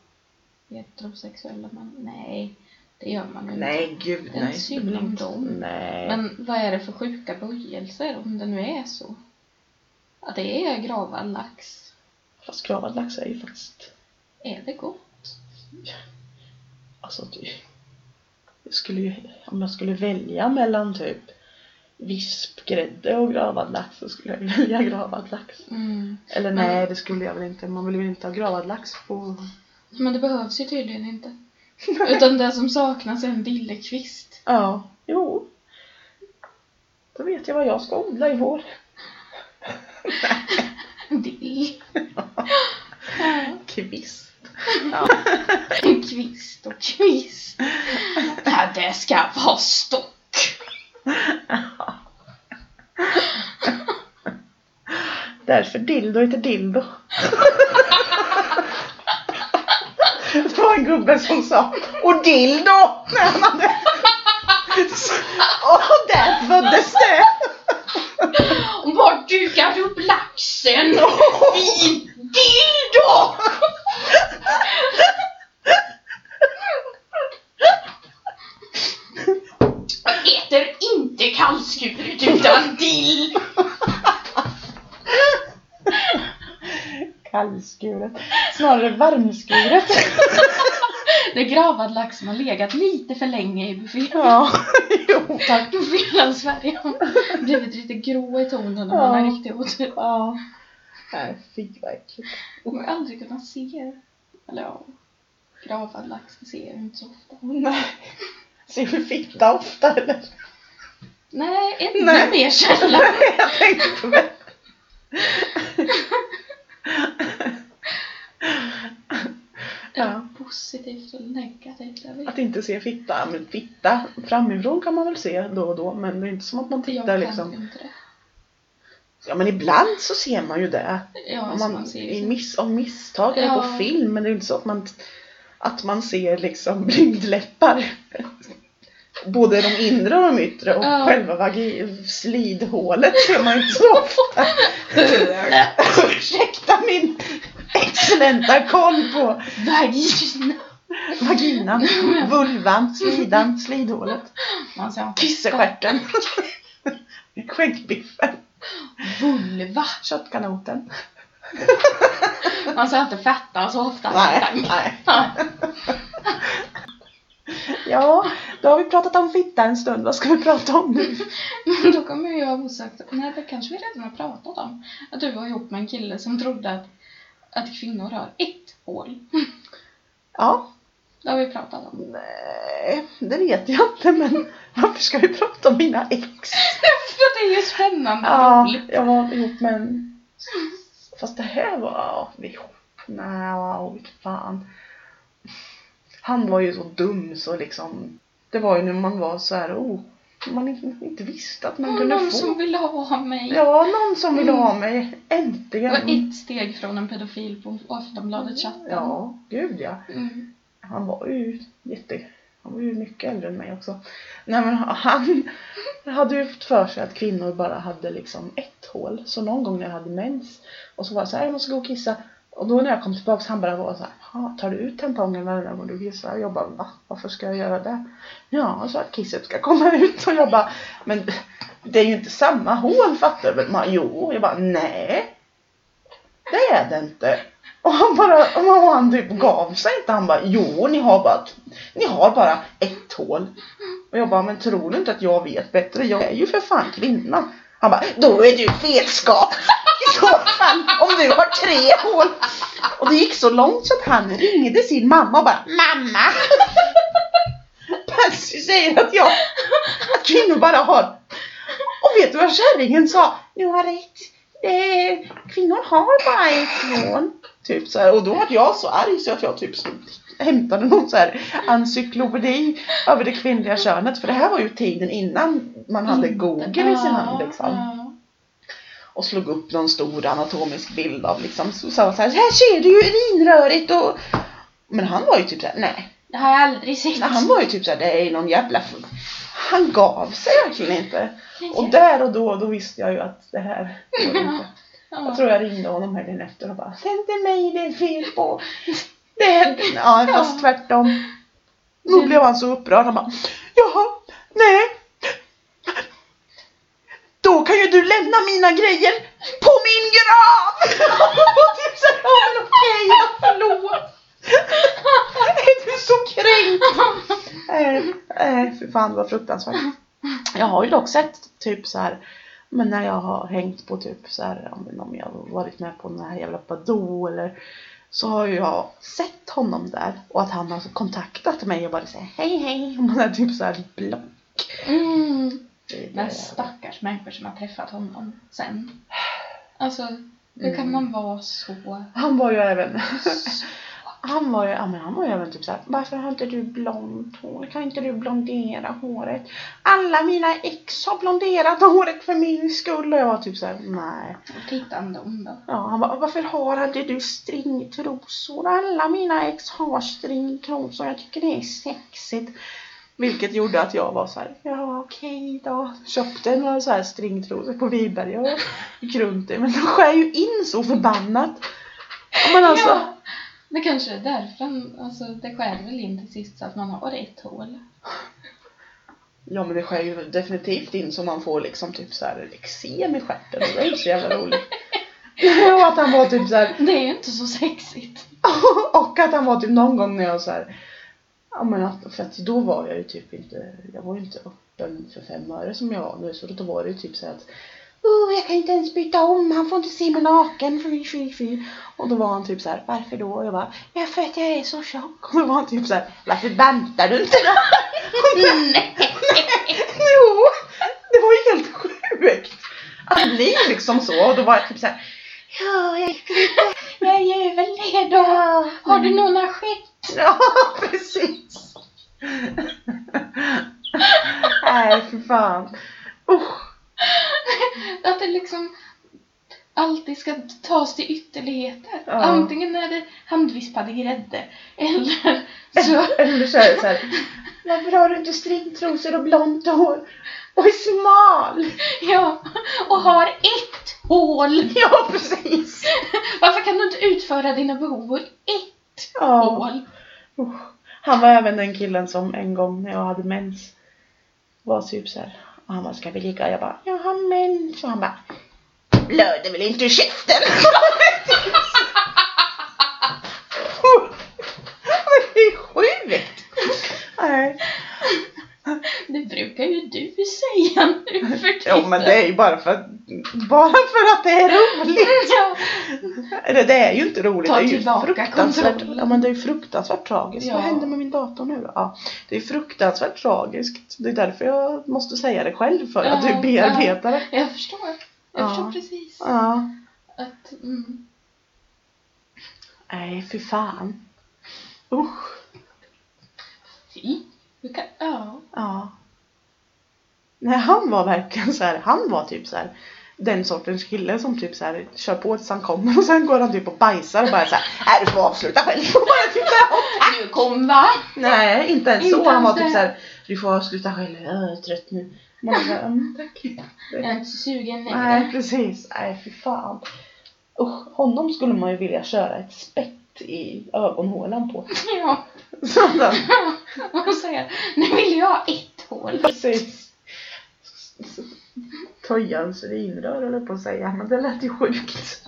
[SPEAKER 2] heterosexuella men nej, det gör man ju inte.
[SPEAKER 1] nej, gud
[SPEAKER 2] Det är
[SPEAKER 1] nej.
[SPEAKER 2] synd om
[SPEAKER 1] inte-
[SPEAKER 2] dem.
[SPEAKER 1] Nej.
[SPEAKER 2] Men vad är det för sjuka böjelser om det nu är så? Ja, det är gravad lax.
[SPEAKER 1] Fast gravad lax är ju faktiskt,
[SPEAKER 2] Är det gott?
[SPEAKER 1] alltså det, jag skulle ju, om jag skulle välja mellan typ vispgrädde och gravad lax så skulle jag [laughs] välja gravad lax.
[SPEAKER 2] Mm.
[SPEAKER 1] Eller
[SPEAKER 2] Men-
[SPEAKER 1] nej, det skulle jag väl inte. Man vill ju inte ha gravad lax på...
[SPEAKER 2] Men det behövs ju tydligen inte. [laughs] Utan det som saknas är en dillekvist.
[SPEAKER 1] Ja, jo. Då vet jag vad jag ska odla i vår.
[SPEAKER 2] En dill.
[SPEAKER 1] Kvist. [laughs]
[SPEAKER 2] En kvist och kvist. Ja, det ska vara stock.
[SPEAKER 1] Därför dildo heter dildo. det var en gubbe som sa och dildo när han hade... Och där föddes det!
[SPEAKER 2] Och var dukar upp laxen i dildo! Jag äter inte kallskuret utan dill.
[SPEAKER 1] Kallskuret. Snarare varmskuret.
[SPEAKER 2] Det är gravad lax som har legat lite för länge i buffén.
[SPEAKER 1] Ja, jo tack.
[SPEAKER 2] Då fyller Sverige har blivit lite grå i tonen när man
[SPEAKER 1] Ja.
[SPEAKER 2] har riktig otur.
[SPEAKER 1] Ja. Nej, fy vad äckligt.
[SPEAKER 2] Man har aldrig kunnat se, eller ja, gravad lax ser jag inte så ofta.
[SPEAKER 1] Nej. Ser vi fitta ofta eller?
[SPEAKER 2] Nej, ännu
[SPEAKER 1] Nej.
[SPEAKER 2] mer sällan.
[SPEAKER 1] Nej, jag tänkte på det.
[SPEAKER 2] Är
[SPEAKER 1] Ja.
[SPEAKER 2] det positivt eller negativt? Jag vet
[SPEAKER 1] Att inte se fitta, men fitta framifrån kan man väl se då och då men det är inte som att man
[SPEAKER 2] inte. Jag
[SPEAKER 1] tittar
[SPEAKER 2] kan
[SPEAKER 1] liksom.
[SPEAKER 2] inte det.
[SPEAKER 1] Ja men ibland så ser man ju det.
[SPEAKER 2] Ja,
[SPEAKER 1] Om
[SPEAKER 2] så
[SPEAKER 1] man,
[SPEAKER 2] man ser ju
[SPEAKER 1] i
[SPEAKER 2] så.
[SPEAKER 1] miss, av misstag eller
[SPEAKER 2] Ja.
[SPEAKER 1] på film men det är ju inte så att man, att man ser liksom [laughs] blygdläppar. Både de inre och de yttre och
[SPEAKER 2] Ja.
[SPEAKER 1] själva vagi- slidhålet ser man ju inte så
[SPEAKER 2] [laughs]
[SPEAKER 1] ofta. Ursäkta min excellenta koll på
[SPEAKER 2] Vagina.
[SPEAKER 1] vaginan, vulvan, slidan, slidhålet,
[SPEAKER 2] Man säger
[SPEAKER 1] kissestjärten, skäggbiffen,
[SPEAKER 2] vulva.
[SPEAKER 1] köttkanoten.
[SPEAKER 2] Man säger inte fetta så ofta.
[SPEAKER 1] Nej, nej. Ja, då har vi pratat om fitta en stund. Vad ska vi prata om nu?
[SPEAKER 2] Men då kommer jag osökt, nej det kanske vi redan har pratat om, att du var ihop med en kille som trodde att, att kvinnor har ett hål.
[SPEAKER 1] Ja,
[SPEAKER 2] Det har vi pratat om.
[SPEAKER 1] nej, det vet jag inte men varför ska vi prata om mina ex?
[SPEAKER 2] För att det är ju spännande och
[SPEAKER 1] Ja,
[SPEAKER 2] roligt.
[SPEAKER 1] jag var ihop med en... Fast det här var... Ja, vi ihop. Nej, wow, vet fan. Han var ju så dum så liksom... Det var ju när man var så här, oh, man inte- inte visste att man
[SPEAKER 2] Och
[SPEAKER 1] kunde
[SPEAKER 2] någon
[SPEAKER 1] få.
[SPEAKER 2] som ville ha mig.
[SPEAKER 1] Ja, någon som ville ha
[SPEAKER 2] Mm.
[SPEAKER 1] mig.
[SPEAKER 2] Det
[SPEAKER 1] Äntligen.
[SPEAKER 2] var ett steg från en pedofil på Aftonbladet-chatten.
[SPEAKER 1] Ja, gud ja.
[SPEAKER 2] Mm.
[SPEAKER 1] Han var ju jätte... Han var ju mycket äldre än mig också. Nej men han hade ju fått för sig att kvinnor bara hade liksom ett hål. Så någon gång när jag hade mens och så var jag så här, jag måste gå och kissa. Och då när jag kom tillbaka han bara var så här, "Ha, tar du ut tampongen varje gång du kissar? Och jag bara, va? Varför ska jag göra det? Ja, så att kisset ska komma ut. Och jag bara, men det är ju inte samma hål fattar du väl? Man, Jo, jag bara, nej. Det är det inte. Och han bara, och han typ gav sig inte. Han bara, jo ni har bara, ni har bara ett hål. Och jag bara, men tror du inte att jag vet bättre? Jag är ju för fan kvinna. Han bara, då är du fetskap. I så fall, om du har tre hål. Och det gick så långt så att han ringde sin mamma och bara, mamma. Patsy säger att jag, att kvinnor bara har. Och vet du vad kärringen sa? Du har rätt. Det är, kvinnor har bara ett hål. Typ så här. Och då var jag så arg så att jag typ hämtade någon så här encyklopedi över det kvinnliga könet. För det här var ju tiden innan man hade Google i sin hand liksom
[SPEAKER 2] Mm. Ja,
[SPEAKER 1] och slog upp någon stor anatomisk bild av liksom, så sa han så här, här ser du ju urinröret och men han var ju typ såhär, nej.
[SPEAKER 2] Det har jag aldrig sett.
[SPEAKER 1] nej. Han var ju typ såhär, det är någon jävla f-" Han gav sig verkligen inte. Och där och då, då visste jag ju att det här går inte.
[SPEAKER 2] Ja.
[SPEAKER 1] Jag tror jag ringde honom helgen efter och bara, det är inte mig det är fel på. Det är, ja, fast tvärtom. Då blev han så upprörd. Han bara, jaha, nej. Då kan ju du lämna mina grejer på min grav! [laughs] Och typ såhär, ja men okej, okay, förlåt. [laughs] är du så kränkt? Nej, nej, Eh, fy fan det var fruktansvärt. Jag har ju dock sett typ så här. Men när jag har hängt på typ så här, ja, men om jag har varit med på den här jävla Badoo eller så har ju jag sett honom där och att han har kontaktat mig och bara säger hej hej. Och man är typ så här block.
[SPEAKER 2] Mm. Men stackars människor som har träffat honom sen. Alltså, hur kan
[SPEAKER 1] Mm.
[SPEAKER 2] man vara så...
[SPEAKER 1] Han var ju även Han var ju, ja, men han var ju även typ såhär, varför har inte du blont hår? Kan inte du blondera håret? Alla mina ex har blonderat håret för min skull och jag var typ såhär, nej.
[SPEAKER 2] Titta ändå om då.
[SPEAKER 1] Ja, han bara, varför har inte du stringtrosor? Alla mina ex har stringtrosor, jag tycker det är sexigt. Vilket gjorde att jag var så här, ja okej då. Köpte några så här stringtrosor på Viberg och gick runt i. Men de skär ju in så förbannat. Men alltså,
[SPEAKER 2] Ja, det kanske är därför han, alltså det skär väl in till sist så att man har ett hål.
[SPEAKER 1] Ja men det skär ju definitivt in så man får liksom typ så här eksem i stjärten och det är ju så jävla roligt. [laughs] och att han var typ så här, [laughs]
[SPEAKER 2] Det är ju inte så sexigt.
[SPEAKER 1] och att han var typ någon gång när jag så här, ja men att, för att då var jag ju typ inte, jag var ju inte öppen för fem öre som jag var nu så då var det ju typ så här att Oh, jag kan inte ens byta om, han får inte se mig naken, fy, fy, fy. Och då var han typ så här, varför då? Och jag bara, ja för att jag är så tjock. Och då var han typ så här, varför bantar du inte då?
[SPEAKER 2] Nej!
[SPEAKER 1] Jo, det var ju helt sjukt. Att bli liksom så. Och då var jag typ såhär. Ja, jag
[SPEAKER 2] Jag är ju överledig!
[SPEAKER 1] ja.
[SPEAKER 2] Har du några
[SPEAKER 1] [laughs]
[SPEAKER 2] skämt?
[SPEAKER 1] Ja, precis. Nej, för fan. Usch.
[SPEAKER 2] [laughs] Att det liksom alltid ska tas till ytterligheter.
[SPEAKER 1] Ja.
[SPEAKER 2] Antingen är det handvispad grädde
[SPEAKER 1] [laughs]
[SPEAKER 2] eller så...
[SPEAKER 1] Eller så är det såhär. Alltså. Varför har du inte stringtrosor och blont hår? Och är smal.
[SPEAKER 2] Ja, och har ett hål! [laughs]
[SPEAKER 1] Ja, precis.
[SPEAKER 2] Varför kan du inte utföra dina behov ur ett
[SPEAKER 1] Ja.
[SPEAKER 2] hål?
[SPEAKER 1] Usch. Han var även den killen som en gång när jag hade mens var typ såhär. Och han bara, ska vi ligga? Och jag bara, jag har mens. Och han bara, blöder väl inte ur käften? Men det är sjukt! Nej.
[SPEAKER 2] Det brukar ju du säga nu för tiden.
[SPEAKER 1] Jo men det är ju bara för att, bara för att det är roligt.
[SPEAKER 2] Ja,
[SPEAKER 1] Eller det är ju inte roligt.
[SPEAKER 2] Ta
[SPEAKER 1] det är ju
[SPEAKER 2] tillbaka
[SPEAKER 1] fruktansvärt,
[SPEAKER 2] kontrollen.
[SPEAKER 1] ja, men det är ju fruktansvärt tragiskt.
[SPEAKER 2] Ja.
[SPEAKER 1] Vad hände med min dator nu då? Ja, det är fruktansvärt tragiskt. Det är därför jag måste säga det själv för att
[SPEAKER 2] Ja,
[SPEAKER 1] du bearbetar det.
[SPEAKER 2] jag förstår. Jag
[SPEAKER 1] Ja.
[SPEAKER 2] förstår precis.
[SPEAKER 1] Ja.
[SPEAKER 2] Att, mm,
[SPEAKER 1] Nej, fy fan. Usch.
[SPEAKER 2] fy. Du kan, ja.
[SPEAKER 1] Ja. Nej, han var verkligen så här. Han var typ så här. Den sortens kille som typ så här kör på tills han kommer och sen går han typ och bajsar och bara så här. Nej, du får avsluta själv. [laughs] Och bara typ så här,
[SPEAKER 2] Nu kom va?
[SPEAKER 1] Nej, inte ens
[SPEAKER 2] Inte
[SPEAKER 1] så. Han
[SPEAKER 2] ens
[SPEAKER 1] var typ
[SPEAKER 2] det.
[SPEAKER 1] såhär, du får sluta själv, jag är trött nu. Man bara, mm, tack.
[SPEAKER 2] Jag är inte så sugen
[SPEAKER 1] Nej,
[SPEAKER 2] längre.
[SPEAKER 1] precis. Nej, fy fan. Usch, honom skulle man ju vilja köra ett spett i ögonhålan på.
[SPEAKER 2] [laughs]
[SPEAKER 1] [laughs]
[SPEAKER 2] Ja,
[SPEAKER 1] Så att han,
[SPEAKER 2] och säga nu vill jag ha ett hål.
[SPEAKER 1] precis. Tojans urinrör höll jag på att säga, men det lät ju sjukt.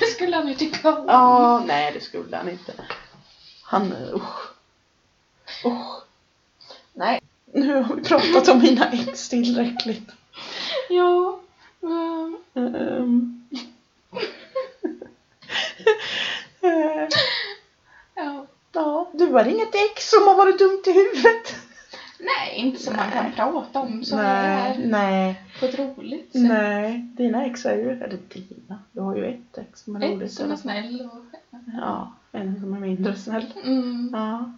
[SPEAKER 2] Det skulle han ju tycka om.
[SPEAKER 1] Ja, nej det skulle han inte. Han, eh, usch. Usch. Nej, nu har vi pratat om mina ex tillräckligt.
[SPEAKER 2] Ja. Mm.
[SPEAKER 1] Ehm. Eh,
[SPEAKER 2] ja.
[SPEAKER 1] Ja, du har inget ex som har varit dumt i huvudet.
[SPEAKER 2] Nej, inte som man kan
[SPEAKER 1] Nej.
[SPEAKER 2] prata om så
[SPEAKER 1] nej,
[SPEAKER 2] här
[SPEAKER 1] nej,
[SPEAKER 2] på ett roligt sätt.
[SPEAKER 1] nej. Dina ex är ju, eller dina, du har ju ett ex som är
[SPEAKER 2] Ett
[SPEAKER 1] roligt.
[SPEAKER 2] som är
[SPEAKER 1] eller?
[SPEAKER 2] snäll och...
[SPEAKER 1] Ja, en som är mindre snäll.
[SPEAKER 2] Mm.
[SPEAKER 1] Ja.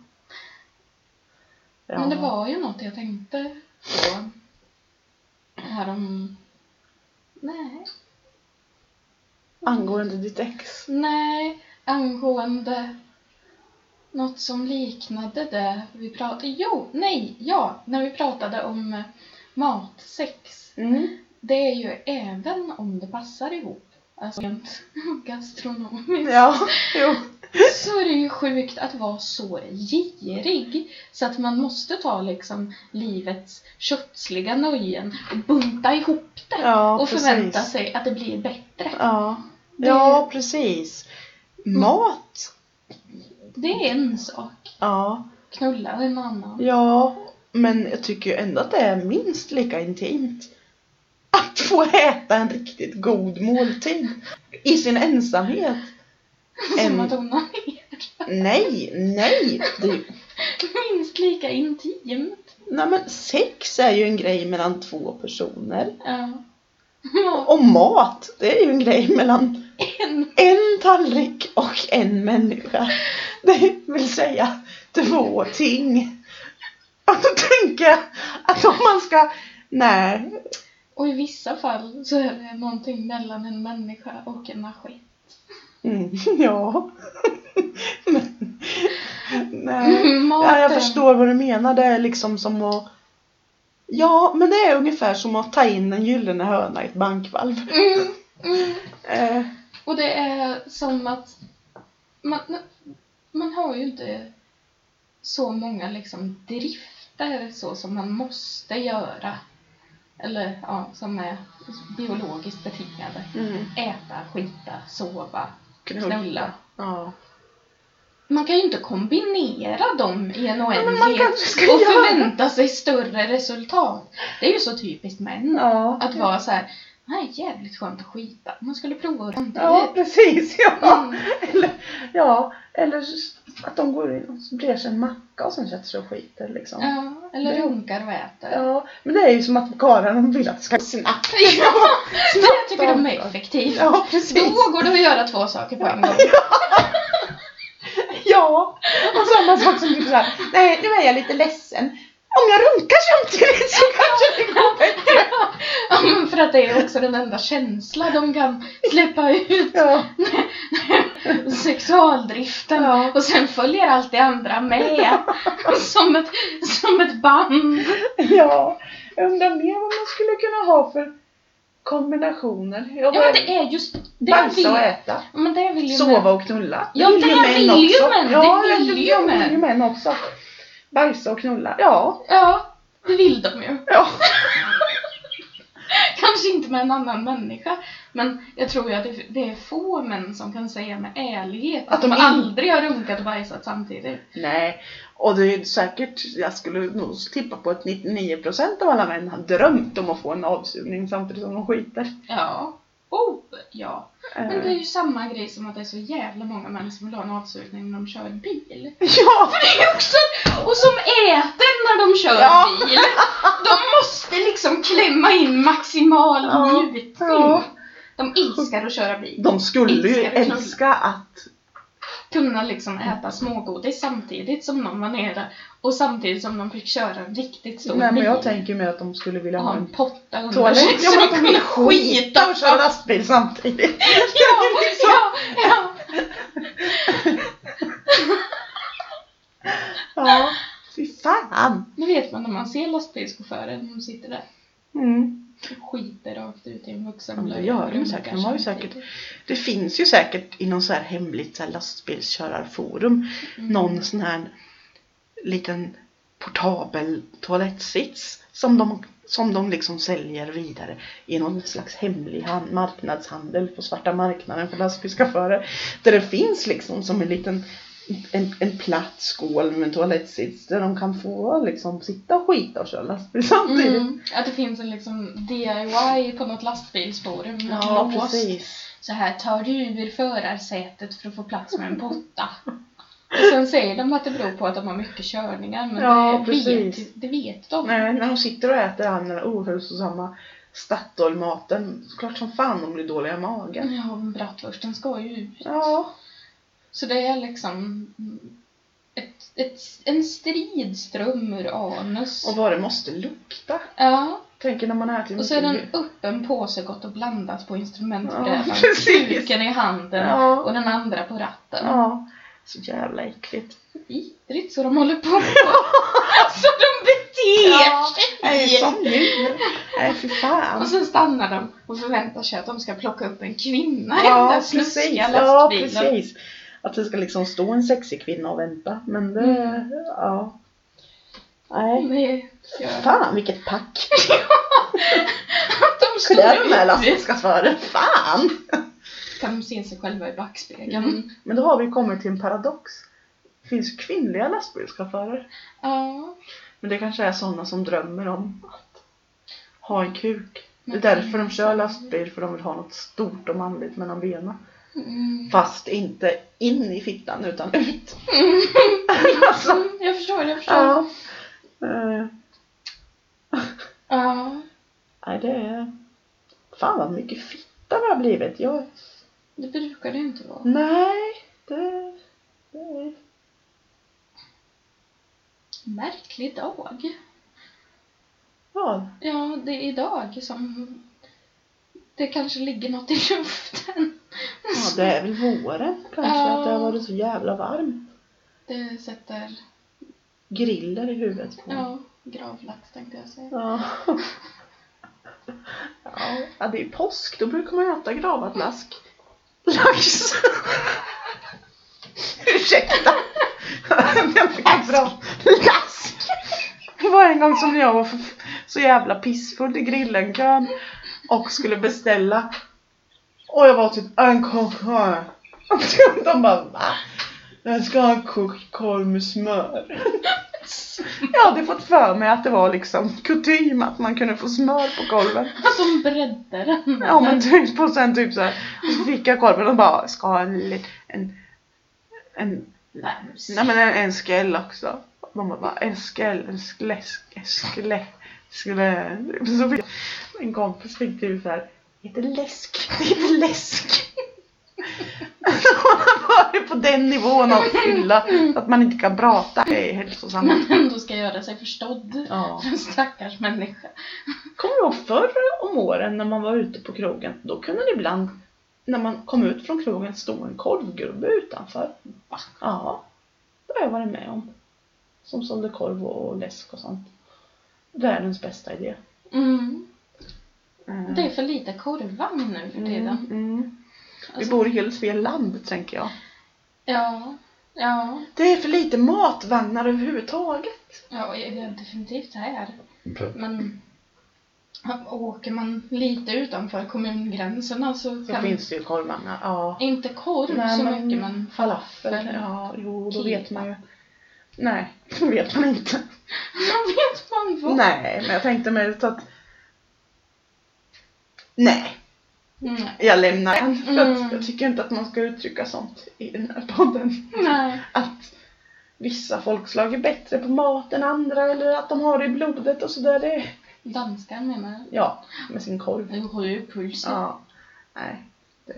[SPEAKER 2] Men det var ju något jag tänkte på. Härom... Nej.
[SPEAKER 1] Angående ditt ex.
[SPEAKER 2] Nej, angående något som liknade det vi pratade... Jo, nej, ja, när vi pratade om eh, matsex.
[SPEAKER 1] Mm.
[SPEAKER 2] Det är ju även om det passar ihop, alltså rent gastronomiskt,
[SPEAKER 1] Ja, jo.
[SPEAKER 2] så är det ju sjukt att vara så girig så att man måste ta liksom livets köttsliga nöjen och bunta ihop det
[SPEAKER 1] Ja,
[SPEAKER 2] [laughs] och förvänta
[SPEAKER 1] precis.
[SPEAKER 2] sig att det blir bättre.
[SPEAKER 1] Ja.
[SPEAKER 2] Det-
[SPEAKER 1] ja, precis. Mat.
[SPEAKER 2] Det är en sak,
[SPEAKER 1] Ja.
[SPEAKER 2] knulla är en annan.
[SPEAKER 1] Ja, men jag tycker ju ändå att det är minst lika intimt. Att få äta en riktigt god måltid i sin ensamhet.
[SPEAKER 2] Som
[SPEAKER 1] En-
[SPEAKER 2] att hon har [laughs] ner.
[SPEAKER 1] Nej, nej! Det, är ju-
[SPEAKER 2] Minst lika intimt.
[SPEAKER 1] nej men sex är ju en grej mellan två personer.
[SPEAKER 2] Ja.
[SPEAKER 1] Och mat, det är ju en grej mellan
[SPEAKER 2] En.
[SPEAKER 1] en tallrik och en människa. Det vill säga två ting. Och då tänker jag att om man ska... Nej,
[SPEAKER 2] Och i vissa fall så är det någonting mellan en människa och en maskin.
[SPEAKER 1] Mm, [laughs] ja. Men, nej.
[SPEAKER 2] Mm. Maten.
[SPEAKER 1] Ja, jag förstår vad du menar. Det är liksom som att... Ja, men det är ungefär som att ta in en gyllene höna i ett bankvalv.
[SPEAKER 2] Mm, mm.
[SPEAKER 1] Eh,
[SPEAKER 2] Och det är som att man, man har ju inte så många liksom drifter så som man måste göra. Eller ja, som är biologiskt betingade.
[SPEAKER 1] mm.
[SPEAKER 2] Äta, skita, sova,
[SPEAKER 1] Knull.
[SPEAKER 2] knulla.
[SPEAKER 1] Ja.
[SPEAKER 2] Man kan ju inte kombinera dem i
[SPEAKER 1] men
[SPEAKER 2] en
[SPEAKER 1] man
[SPEAKER 2] oändlighet
[SPEAKER 1] kanske ska
[SPEAKER 2] och
[SPEAKER 1] göra
[SPEAKER 2] förvänta sig större resultat. Det är ju så typiskt män.
[SPEAKER 1] Ja.
[SPEAKER 2] Att vara så här, nej jävligt skönt att skita. Man skulle prova
[SPEAKER 1] ja,
[SPEAKER 2] samtidigt.
[SPEAKER 1] precis. Ja.
[SPEAKER 2] Mm.
[SPEAKER 1] Eller, ja. Eller s- att de går in och så blir sig en macka och sen sätter sig och skiter liksom.
[SPEAKER 2] Ja, eller
[SPEAKER 1] Det-
[SPEAKER 2] runkar och äter.
[SPEAKER 1] Ja, men det är ju som att karlarna vill att det [laughs] ska snabbt.
[SPEAKER 2] Ja, men jag tycker de är
[SPEAKER 1] Snabbt.
[SPEAKER 2] effektiva.
[SPEAKER 1] Ja,
[SPEAKER 2] Då
[SPEAKER 1] precis.
[SPEAKER 2] går det att göra två saker
[SPEAKER 1] [laughs]
[SPEAKER 2] på en gång.
[SPEAKER 1] Ja, och samma sak som typ såhär, nej nu är jag lite ledsen. Om jag runkar samtidigt så kanske det
[SPEAKER 2] [laughs]
[SPEAKER 1] går bättre.
[SPEAKER 2] Ja, men för att det är också den enda känsla de kan släppa ut.
[SPEAKER 1] Ja,
[SPEAKER 2] sexualdriften
[SPEAKER 1] Ja.
[SPEAKER 2] och sen följer allt det
[SPEAKER 1] [laughs]
[SPEAKER 2] andra med. som, ett, som ett band.
[SPEAKER 1] ja. Jag undrar mer vad man skulle kunna ha för kombinationer. Jag
[SPEAKER 2] Ja men
[SPEAKER 1] bara,
[SPEAKER 2] det är just det
[SPEAKER 1] bajsa och
[SPEAKER 2] vill,
[SPEAKER 1] äta,
[SPEAKER 2] men det vill ju
[SPEAKER 1] sova och knulla.
[SPEAKER 2] Ja, det vill ju
[SPEAKER 1] också.
[SPEAKER 2] män. Det
[SPEAKER 1] Ja,
[SPEAKER 2] vill
[SPEAKER 1] det
[SPEAKER 2] ju
[SPEAKER 1] ja, det vill ju
[SPEAKER 2] män.
[SPEAKER 1] män också. Bajsa och knulla, ja.
[SPEAKER 2] Ja, det vill de ju.
[SPEAKER 1] Ja,
[SPEAKER 2] Kanske inte med en annan människa, men jag tror ju att det, det är få män som kan säga med ärlighet att,
[SPEAKER 1] Att
[SPEAKER 2] de,
[SPEAKER 1] de in-
[SPEAKER 2] aldrig har runkat och bajsat samtidigt.
[SPEAKER 1] nej. Och det är säkert, jag skulle nog tippa på att 99% av alla män har drömt om att få en avsugning samtidigt som de skiter.
[SPEAKER 2] Ja. Oh, ja. Men
[SPEAKER 1] Eh.
[SPEAKER 2] det är ju samma grej som att det är så jävla många män som vill ha en avslutning när de kör bil.
[SPEAKER 1] [laughs] Ja!
[SPEAKER 2] Det är också, och som äter när de kör
[SPEAKER 1] Ja.
[SPEAKER 2] bil. De måste liksom klämma in maximal
[SPEAKER 1] Ja.
[SPEAKER 2] njutning.
[SPEAKER 1] Ja.
[SPEAKER 2] De älskar att köra bil.
[SPEAKER 1] De skulle ju
[SPEAKER 2] Älskar knull.
[SPEAKER 1] älska att...
[SPEAKER 2] Kunna liksom äta smågodis samtidigt som någon var nere och samtidigt som de fick köra en riktigt stor
[SPEAKER 1] Nej men
[SPEAKER 2] bil.
[SPEAKER 1] jag tänker mig att de skulle vilja
[SPEAKER 2] och ha
[SPEAKER 1] ha
[SPEAKER 2] en
[SPEAKER 1] en
[SPEAKER 2] potta under sig
[SPEAKER 1] toalett. [laughs] Ja
[SPEAKER 2] så
[SPEAKER 1] men
[SPEAKER 2] de
[SPEAKER 1] att de
[SPEAKER 2] kunde
[SPEAKER 1] vill
[SPEAKER 2] skita
[SPEAKER 1] skita och köra lastbil samtidigt.
[SPEAKER 2] Ja, ja, ja.
[SPEAKER 1] Ja. Fy fan.
[SPEAKER 2] Nu vet man när man ser lastbilschauffören, de sitter där.
[SPEAKER 1] Mm.
[SPEAKER 2] skiter rakt ut i en
[SPEAKER 1] Ja,
[SPEAKER 2] vuxen
[SPEAKER 1] men det
[SPEAKER 2] blöja
[SPEAKER 1] gör
[SPEAKER 2] och
[SPEAKER 1] de
[SPEAKER 2] runkar
[SPEAKER 1] säkert. De har ju
[SPEAKER 2] samtidigt.
[SPEAKER 1] Det finns ju säkert i någon så här hemligt så här lastbilskörarforum
[SPEAKER 2] Mm.
[SPEAKER 1] någon sån här liten portabel toalettsits som de, som de liksom säljer vidare i någon slags hemlig han- marknadshandel på svarta marknaden för lastbilschaufförer. Där det finns liksom som en liten en, en platt skål med en toalettsits där de kan få liksom sitta och skita och köra lastbil samtidigt.
[SPEAKER 2] Mm, att det finns en liksom DIY på något lastbilsforum.
[SPEAKER 1] Ja,
[SPEAKER 2] Låst.
[SPEAKER 1] precis.
[SPEAKER 2] Så här tar du ur förarsätet för att få plats med en botta. Och sen säger de att det beror på att de har mycket körningar, men
[SPEAKER 1] Ja,
[SPEAKER 2] det,
[SPEAKER 1] precis.
[SPEAKER 2] vet, det vet de.
[SPEAKER 1] Nej, när de sitter och äter all den där ohälsosamma Statoil-maten, så klart som fan de blir dåliga i magen.
[SPEAKER 2] Ja, men bratwursten ska ju ut.
[SPEAKER 1] Ja,
[SPEAKER 2] Så det är liksom ett, ett, en strid ström ur anus.
[SPEAKER 1] och vad det måste lukta.
[SPEAKER 2] Ja,
[SPEAKER 1] Tänker när man äter
[SPEAKER 2] och så är den
[SPEAKER 1] mycket-
[SPEAKER 2] öppen påse gott och blandat på
[SPEAKER 1] Mm. Ja,
[SPEAKER 2] instrumentbrädan.
[SPEAKER 1] [laughs] precis.
[SPEAKER 2] Kuken i handen
[SPEAKER 1] Ja.
[SPEAKER 2] och den andra på ratten.
[SPEAKER 1] Ja, så jävla äckligt.
[SPEAKER 2] vidrigt så de håller på.
[SPEAKER 1] [laughs]
[SPEAKER 2] alltså de beter
[SPEAKER 1] Ja, Nej,
[SPEAKER 2] sig!
[SPEAKER 1] som djur. Nej, fy fan.
[SPEAKER 2] Och sen stannar de och förväntar sig att de ska plocka upp en kvinna i den
[SPEAKER 1] Ja,
[SPEAKER 2] där
[SPEAKER 1] precis.
[SPEAKER 2] snuskiga
[SPEAKER 1] Ja,
[SPEAKER 2] lastbilen.
[SPEAKER 1] precis. Att det ska liksom stå en sexig kvinna och vänta. Men det,
[SPEAKER 2] Mm.
[SPEAKER 1] ja. Nej.
[SPEAKER 2] Nej, ja.
[SPEAKER 1] Fan vilket pack.
[SPEAKER 2] Att de
[SPEAKER 1] Kunde jag ha med
[SPEAKER 2] står ut.
[SPEAKER 1] lastbilschauffören? Fan!
[SPEAKER 2] Kan de se sig själva i backspegeln.
[SPEAKER 1] Mm. Men då har vi kommit till en paradox. Det finns ju kvinnliga lastbilschaufförer.
[SPEAKER 2] Ja.
[SPEAKER 1] Men det kanske är sådana som drömmer om att ha en kuk. Det är
[SPEAKER 2] Men-
[SPEAKER 1] därför de kör lastbil, för de vill ha något stort och manligt mellan benen.
[SPEAKER 2] Mm.
[SPEAKER 1] Fast inte in i fittan, utan ut. alltså,
[SPEAKER 2] Mm, Jag förstår, jag förstår. Ja.
[SPEAKER 1] ja. Eh, Nej, det är... Fan vad mycket fitta det har blivit. Jag...
[SPEAKER 2] Det brukar det inte vara.
[SPEAKER 1] Nej, det... det är...
[SPEAKER 2] Märklig dag.
[SPEAKER 1] Ja,
[SPEAKER 2] Ja, det är idag som det kanske ligger något i luften.
[SPEAKER 1] Ja, det är väl våren kanske,
[SPEAKER 2] Ja.
[SPEAKER 1] att det har varit så jävla varmt.
[SPEAKER 2] Det sätter,
[SPEAKER 1] Griller i huvudet på mig.
[SPEAKER 2] ja, gravlax tänkte jag säga.
[SPEAKER 1] Ja. ja. ja, det är påsk, då brukar man äta gravad lask. Lax! Ursäkta! jag fick en bra lask! Det var en gång som jag var för- så jävla pissfull i grillen och skulle beställa och jag var typ en kock här. [laughs] De bara va? Jag ska ha en kokt korv med smör. Jag hade fått för mig att det var liksom kutym att man kunde få smör på korven.
[SPEAKER 2] Att de breddar den.
[SPEAKER 1] Ja men typ och sen typ så här, och så fick jag korven och bara ska ha en li- en, en nej men en, en skäll också. De bara en skäll, en skäll, en skäll, skäll. Typ så fick jag- En kompis fick typ så här, det heter läsk, det heter läsk. [laughs] Man har varit på den nivån av fylla att man inte kan prata. Det är hälsosamt.
[SPEAKER 2] Men ändå ska göra sig förstådd.
[SPEAKER 1] Ja.
[SPEAKER 2] En [laughs] stackars människa.
[SPEAKER 1] Kommer du ihåg förr om åren när man var ute på krogen? Då kunde det ibland, när man kom ut från krogen, stå en korvgubbe utanför.
[SPEAKER 2] Va?
[SPEAKER 1] Ja, det har jag varit med om. Som sålde korv och läsk och sånt. Världens bästa idé.
[SPEAKER 2] Mm.
[SPEAKER 1] Mm.
[SPEAKER 2] Det är för lite korvvagn nu för tiden.
[SPEAKER 1] Mm, mm. Vi
[SPEAKER 2] Alltså,
[SPEAKER 1] bor i helt fel land, tänker jag.
[SPEAKER 2] ja, ja,
[SPEAKER 1] Det är för lite matvagnar överhuvudtaget.
[SPEAKER 2] ja, jag är definitivt här. Men åker man lite utanför kommungränserna så,
[SPEAKER 1] Så
[SPEAKER 2] kan
[SPEAKER 1] finns det ju korvvagnar. Ja.
[SPEAKER 2] inte korv så mycket men
[SPEAKER 1] falafel. Ja, jo, då vet
[SPEAKER 2] Kebab.
[SPEAKER 1] man ju. Nej, [laughs] det vet man inte.
[SPEAKER 2] Då vet man vad.
[SPEAKER 1] Nej, men jag tänkte mest att... Nej,
[SPEAKER 2] Nej.
[SPEAKER 1] jag lämnar den. För
[SPEAKER 2] Mm.
[SPEAKER 1] att jag tycker inte att man ska uttrycka sånt i den här podden.
[SPEAKER 2] Nej.
[SPEAKER 1] Att vissa folkslag är bättre på mat än andra eller att de har det i blodet och sådär. Det...
[SPEAKER 2] Danskar menar jag.
[SPEAKER 1] Ja, med sin korv.
[SPEAKER 2] Det rör ju pulsen.
[SPEAKER 1] Ja. Nej. Det...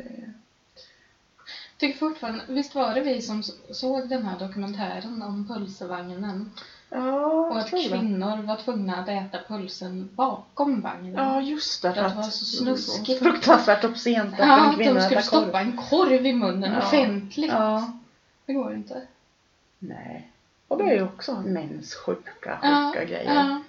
[SPEAKER 2] Tycker fortfarande, visst var det vi som s- såg den här dokumentären om pulsevagnen?
[SPEAKER 1] Ja,
[SPEAKER 2] Och
[SPEAKER 1] jag
[SPEAKER 2] att
[SPEAKER 1] tror det.
[SPEAKER 2] kvinnor var tvungna att äta pulsen bakom vagnen.
[SPEAKER 1] Ja, just det.
[SPEAKER 2] För att det var så snuskigt.
[SPEAKER 1] Fruktansvärt obscent att
[SPEAKER 2] Ja,
[SPEAKER 1] en
[SPEAKER 2] att
[SPEAKER 1] kvinna
[SPEAKER 2] de
[SPEAKER 1] äter
[SPEAKER 2] skulle
[SPEAKER 1] korv.
[SPEAKER 2] stoppa en korv i munnen
[SPEAKER 1] Ja.
[SPEAKER 2] offentligt.
[SPEAKER 1] Ja.
[SPEAKER 2] Det går inte.
[SPEAKER 1] Nej. Och det är ju också mäns sjuka, sjuka
[SPEAKER 2] Ja,
[SPEAKER 1] grejer.
[SPEAKER 2] ja.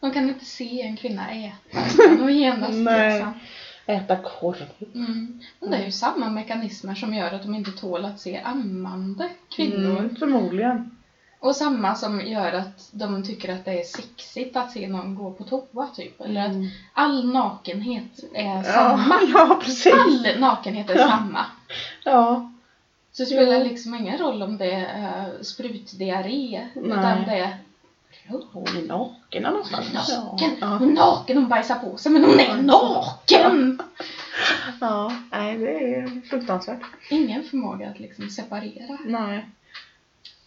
[SPEAKER 2] De kan inte se en kvinna [laughs] äta. utan De genast
[SPEAKER 1] Nej.
[SPEAKER 2] liksom.
[SPEAKER 1] Äta korv.
[SPEAKER 2] Mm. Men det är ju samma mekanismer som gör att de inte tål att se ammande kvinnor.
[SPEAKER 1] Mm, förmodligen.
[SPEAKER 2] Och samma som gör att de tycker att det är sexigt att se någon gå på toa typ. Eller att
[SPEAKER 1] Mm.
[SPEAKER 2] all nakenhet är samma.
[SPEAKER 1] Ja,
[SPEAKER 2] [laughs]
[SPEAKER 1] [laughs] ja, precis.
[SPEAKER 2] All nakenhet är
[SPEAKER 1] Ja.
[SPEAKER 2] samma.
[SPEAKER 1] Ja,
[SPEAKER 2] Så det spelar
[SPEAKER 1] Ja.
[SPEAKER 2] liksom ingen roll om det är eh, sprutdiarré. Utan
[SPEAKER 1] Nej.
[SPEAKER 2] det är
[SPEAKER 1] hon är naken i alla fall.
[SPEAKER 2] naken.
[SPEAKER 1] Ja.
[SPEAKER 2] Hon är naken, hon bajsar på sig men hon är naken!
[SPEAKER 1] Ja, nej det är fruktansvärt.
[SPEAKER 2] Ingen förmåga att liksom separera.
[SPEAKER 1] Nej.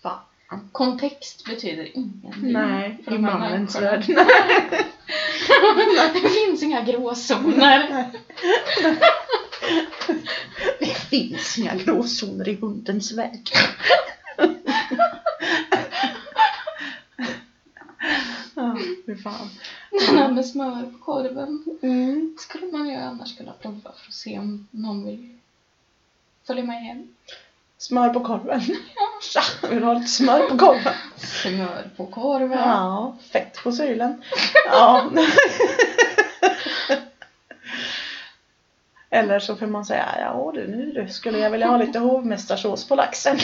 [SPEAKER 2] Fan. Kontext betyder ingenting.
[SPEAKER 1] Mm. Nej,
[SPEAKER 2] för
[SPEAKER 1] i
[SPEAKER 2] de här
[SPEAKER 1] mannens
[SPEAKER 2] människorna.
[SPEAKER 1] värld. Nej.
[SPEAKER 2] [laughs] Det finns inga gråzoner.
[SPEAKER 1] [laughs] Det finns inga gråzoner i hundens värld. [laughs] Ja, fy fan.
[SPEAKER 2] Den här med smör på korven
[SPEAKER 1] Mm.
[SPEAKER 2] skulle man ju annars kunna prova för att se om någon vill följa med hem.
[SPEAKER 1] Smör på korven. [laughs] Tja, vill du ha lite smör på korven?
[SPEAKER 2] Smör på korven.
[SPEAKER 1] Ja, fett på [laughs] sylen. Ja. Eller så får man säga, ja du nu du, skulle jag vilja ha lite hovmästarsås på laxen.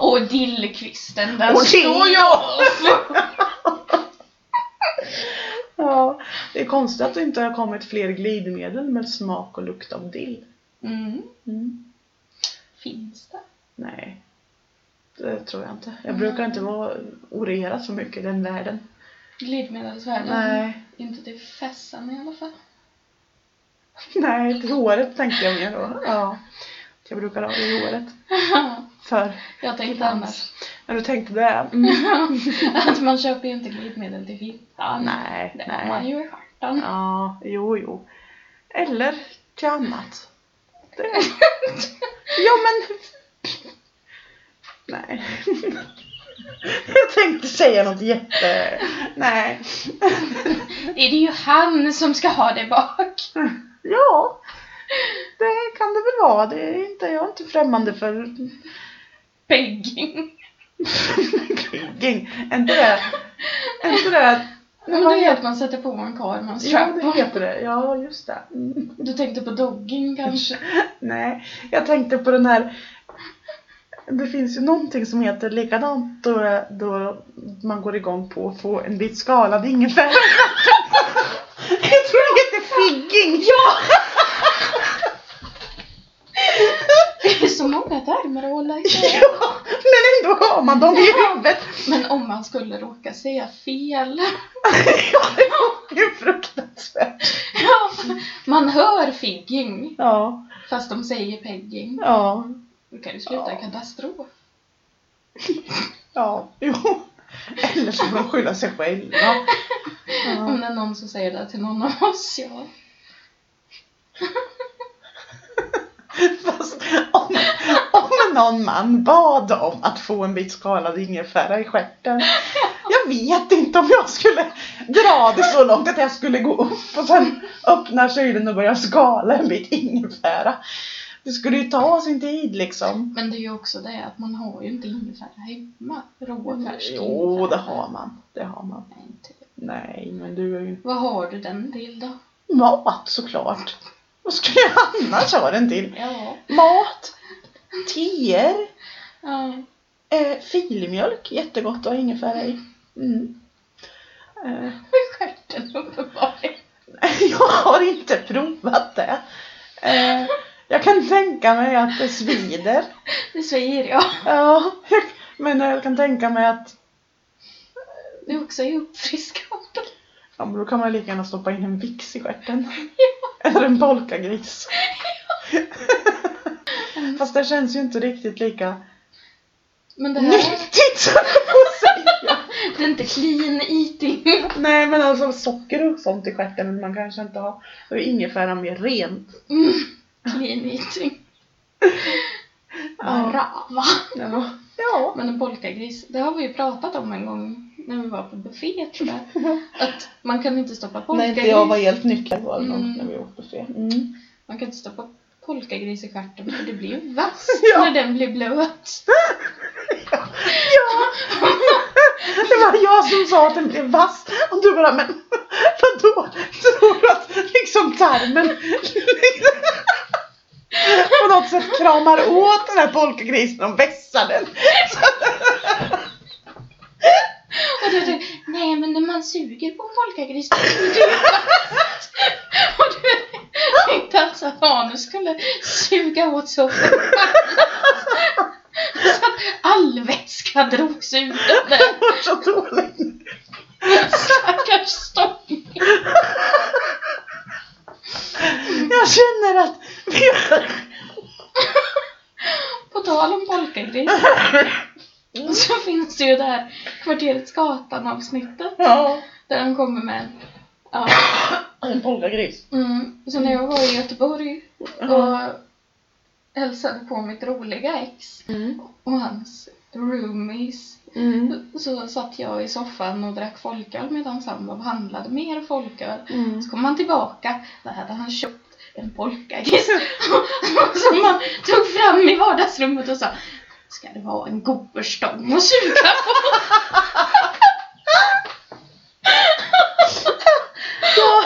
[SPEAKER 2] Och dillkvisten, den
[SPEAKER 1] Och
[SPEAKER 2] står
[SPEAKER 1] dill.
[SPEAKER 2] ju av!
[SPEAKER 1] [laughs] Ja, det är konstigt att det inte har kommit fler glidmedel med smak och lukt av dill.
[SPEAKER 2] Mm,
[SPEAKER 1] Mm.
[SPEAKER 2] finns det?
[SPEAKER 1] Nej, det tror jag inte. Jag brukar inte vara orerat så mycket i den världen.
[SPEAKER 2] Glidmedelsvärlden?
[SPEAKER 1] Mm. Nej,
[SPEAKER 2] Inte till fessen i alla [laughs] fall.
[SPEAKER 1] nej, till håret tänkte jag mer då. Ja, jag brukar ha det i håret. För,
[SPEAKER 2] Jag tänkte
[SPEAKER 1] Glans.
[SPEAKER 2] annars
[SPEAKER 1] när du tänkte det. Mm.
[SPEAKER 2] [laughs] att man köper ju inte glidmedel till fittan.
[SPEAKER 1] Nej,
[SPEAKER 2] Det har man
[SPEAKER 1] nej.
[SPEAKER 2] ju i stjärten.
[SPEAKER 1] Ja, jo, jo. Eller till annat. Det... Ja, men... Nej. [laughs] Jag tänkte säga något jätte... Nej.
[SPEAKER 2] Det [laughs] är ju han som ska ha det bak. [laughs]
[SPEAKER 1] Ja, det kan det väl vara. Det är inte, jag är inte främmande för [laughs]
[SPEAKER 2] Pegging.
[SPEAKER 1] rigging. Är inte det... Är inte det...
[SPEAKER 2] Men det är att man sätter på en karl man
[SPEAKER 1] Ja, det
[SPEAKER 2] strap
[SPEAKER 1] heter det. Ja, just det. Mm.
[SPEAKER 2] Du tänkte på dogging kanske? [laughs]
[SPEAKER 1] Nej, jag tänkte på den här det finns ju någonting som heter likadant då, då man går igång på att få en bit skalad ingefära. [laughs] Jag tror det heter figging. Ja!
[SPEAKER 2] Det är så många termer att hålla [laughs] i.
[SPEAKER 1] [laughs] ja! Men ändå har man dem i huvudet. [laughs]
[SPEAKER 2] Men om man skulle råka säga fel.
[SPEAKER 1] Det är fruktansvärt.
[SPEAKER 2] Ja, man hör figging
[SPEAKER 1] Ja,
[SPEAKER 2] fast de säger pegging.
[SPEAKER 1] ja,
[SPEAKER 2] Då kan ju sluta i
[SPEAKER 1] Ja.
[SPEAKER 2] katastrof.
[SPEAKER 1] ja, jo. Eller så får de skylla sig själva. Ja.
[SPEAKER 2] Om det är någon som säger det till någon av oss, ja.
[SPEAKER 1] [laughs] Fast om, om någon man bad om att få en bit skalad ingefära i stjärten. Jag vet inte om jag skulle dra det så långt att jag skulle gå upp och sen öppna kylen och börja skala en bit ingefära. Det skulle ju ta sin tid liksom.
[SPEAKER 2] Men det är ju också det att man har ju inte ingefära hemma. Rå färsk
[SPEAKER 1] Jo, det
[SPEAKER 2] ingefära.
[SPEAKER 1] har man. Det har man.
[SPEAKER 2] Nej, inte jag.
[SPEAKER 1] Nej, men du är ju
[SPEAKER 2] Vad har du den till då?
[SPEAKER 1] mat såklart. Vad skulle jag annars ha den till?
[SPEAKER 2] Ja.
[SPEAKER 1] Mat, teer,
[SPEAKER 2] ja.
[SPEAKER 1] Eh, filmjölk, jättegott att ha ingefära i. Mm. Eh, [laughs]
[SPEAKER 2] Stjärten uppenbarligen.
[SPEAKER 1] jag har inte provat det. Eh, jag kan tänka mig att det svider.
[SPEAKER 2] Det säger jag.
[SPEAKER 1] Ja, jag, men jag kan tänka mig att
[SPEAKER 2] Det är också i uppfriskande.
[SPEAKER 1] ja, men då kan man lika gärna stoppa in en vix i stjärten. Eller en polkagris. Fast det känns ju inte riktigt lika
[SPEAKER 2] Men det här,
[SPEAKER 1] nyttigt [laughs] som att säga.
[SPEAKER 2] det är inte clean eating.
[SPEAKER 1] Nej men alltså socker och sånt i stjärten men man kanske inte har. Då är ingefära mer rent.
[SPEAKER 2] Mm. Clean eating.
[SPEAKER 1] Ja.
[SPEAKER 2] Rava.
[SPEAKER 1] Ja. ja.
[SPEAKER 2] Men en polkagris, det har vi ju pratat om en gång när vi var på buffé tror
[SPEAKER 1] [laughs]
[SPEAKER 2] jag. Att man kan inte stoppa
[SPEAKER 1] När
[SPEAKER 2] polkagris.
[SPEAKER 1] inte jag var helt nyktrad var det nog
[SPEAKER 2] Mm.
[SPEAKER 1] när vi åt buffé. Mm.
[SPEAKER 2] Man kan inte stoppa polkagris i stjärten för det blir
[SPEAKER 1] [laughs]
[SPEAKER 2] ju vasst
[SPEAKER 1] Ja.
[SPEAKER 2] när den blir blöt.
[SPEAKER 1] Ja! [laughs] Det var jag som sa att den blev vass och du bara men [laughs] vadå? Tror du att liksom tarmen [laughs] på något sätt kramar åt den här polkagrisen och vässar den?
[SPEAKER 2] Och du typ, nej men när man suger på en polkagris då blir det ju vass." [laughs] Och du tänkte alltså att Hanus skulle suga åt så [laughs] så att all vätska drogs ur den där
[SPEAKER 1] Det var så dåligt. [laughs]
[SPEAKER 2] [laughs] stackars stången.
[SPEAKER 1] Jag känner att
[SPEAKER 2] På tal om polkagris [laughs] så finns det ju det här Kvarteret Skatan avsnittet
[SPEAKER 1] Ja,
[SPEAKER 2] där de kommer med ja,
[SPEAKER 1] en polkagris.
[SPEAKER 2] mm, så när jag var i Göteborg
[SPEAKER 1] Mm.
[SPEAKER 2] och hälsade på mitt roliga ex
[SPEAKER 1] Mm.
[SPEAKER 2] och hans roomies
[SPEAKER 1] Mm.
[SPEAKER 2] så satt jag i soffan och drack folköl medan sambo handlade mer folköl.
[SPEAKER 1] Mm.
[SPEAKER 2] Så kom han tillbaka, där hade han köpt en polkagris [laughs] som han tog fram i vardagsrummet och sa Ska det vara en goberstång att suga på?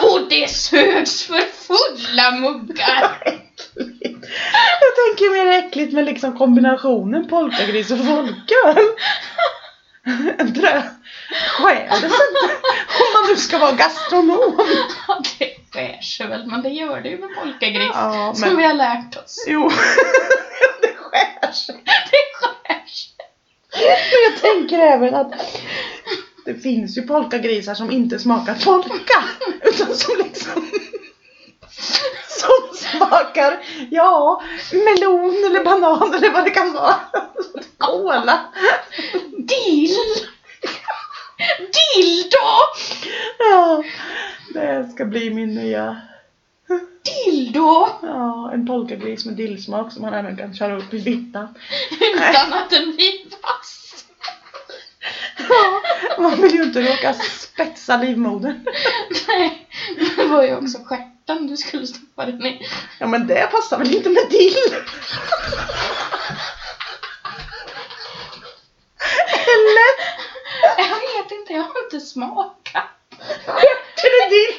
[SPEAKER 2] Och det sögs för fulla muggar! [laughs]
[SPEAKER 1] Jag tänker mer äckligt med liksom kombinationen polkagris och folköl. Drö- Skärs inte? Om man nu ska vara gastronom.
[SPEAKER 2] Ja, det skär sig väl, men det gör det ju med polkagris.
[SPEAKER 1] Ja,
[SPEAKER 2] Som
[SPEAKER 1] men
[SPEAKER 2] vi har lärt oss. [laughs]
[SPEAKER 1] jo. Det skärs.
[SPEAKER 2] Det skär sig.
[SPEAKER 1] Men jag tänker även att det finns ju polkagrisar som inte smakar polka. Utan som liksom som smakar, ja, melon eller banan eller vad det kan vara. Kola.
[SPEAKER 2] Dill! Dildo!
[SPEAKER 1] Ja, det ska bli min nya,
[SPEAKER 2] Dildo!
[SPEAKER 1] ja, en polkagris med dillsmak som man även kan köra upp i vittan.
[SPEAKER 2] Utan att den blir fast.
[SPEAKER 1] Ja, man vill ju inte råka spetsa livmodern.
[SPEAKER 2] Nej, det var ju också stjärten du skulle stoppa den i.
[SPEAKER 1] Ja, men det passar väl inte med dill? Eller?
[SPEAKER 2] Jag vet inte, jag har inte smakat.
[SPEAKER 1] Eller dill?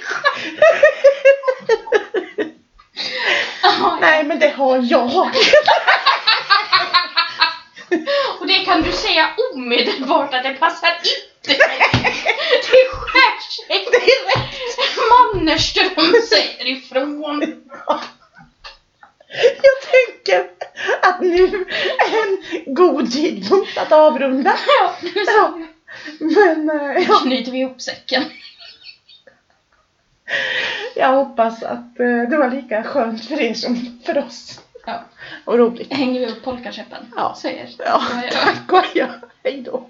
[SPEAKER 2] Ja,
[SPEAKER 1] Nej, men det har jag.
[SPEAKER 2] [laughs] Och det kan du säga omedelbart att det passar inte. Det skär sig. Mannerström säger ifrån.
[SPEAKER 1] [laughs] Jag tänker att nu är en god tidpunkt att avrunda.
[SPEAKER 2] Ja, nu så
[SPEAKER 1] Men eh, ja,
[SPEAKER 2] knyter vi ihop säcken.
[SPEAKER 1] jag hoppas att eh, det var lika skönt för er som för oss.
[SPEAKER 2] Ja,
[SPEAKER 1] Och roligt.
[SPEAKER 2] hänger vi upp polkakäppen.
[SPEAKER 1] Ja.
[SPEAKER 2] Säger.
[SPEAKER 1] Ja,
[SPEAKER 2] Ja, ja.
[SPEAKER 1] tack och adjö. Hej då.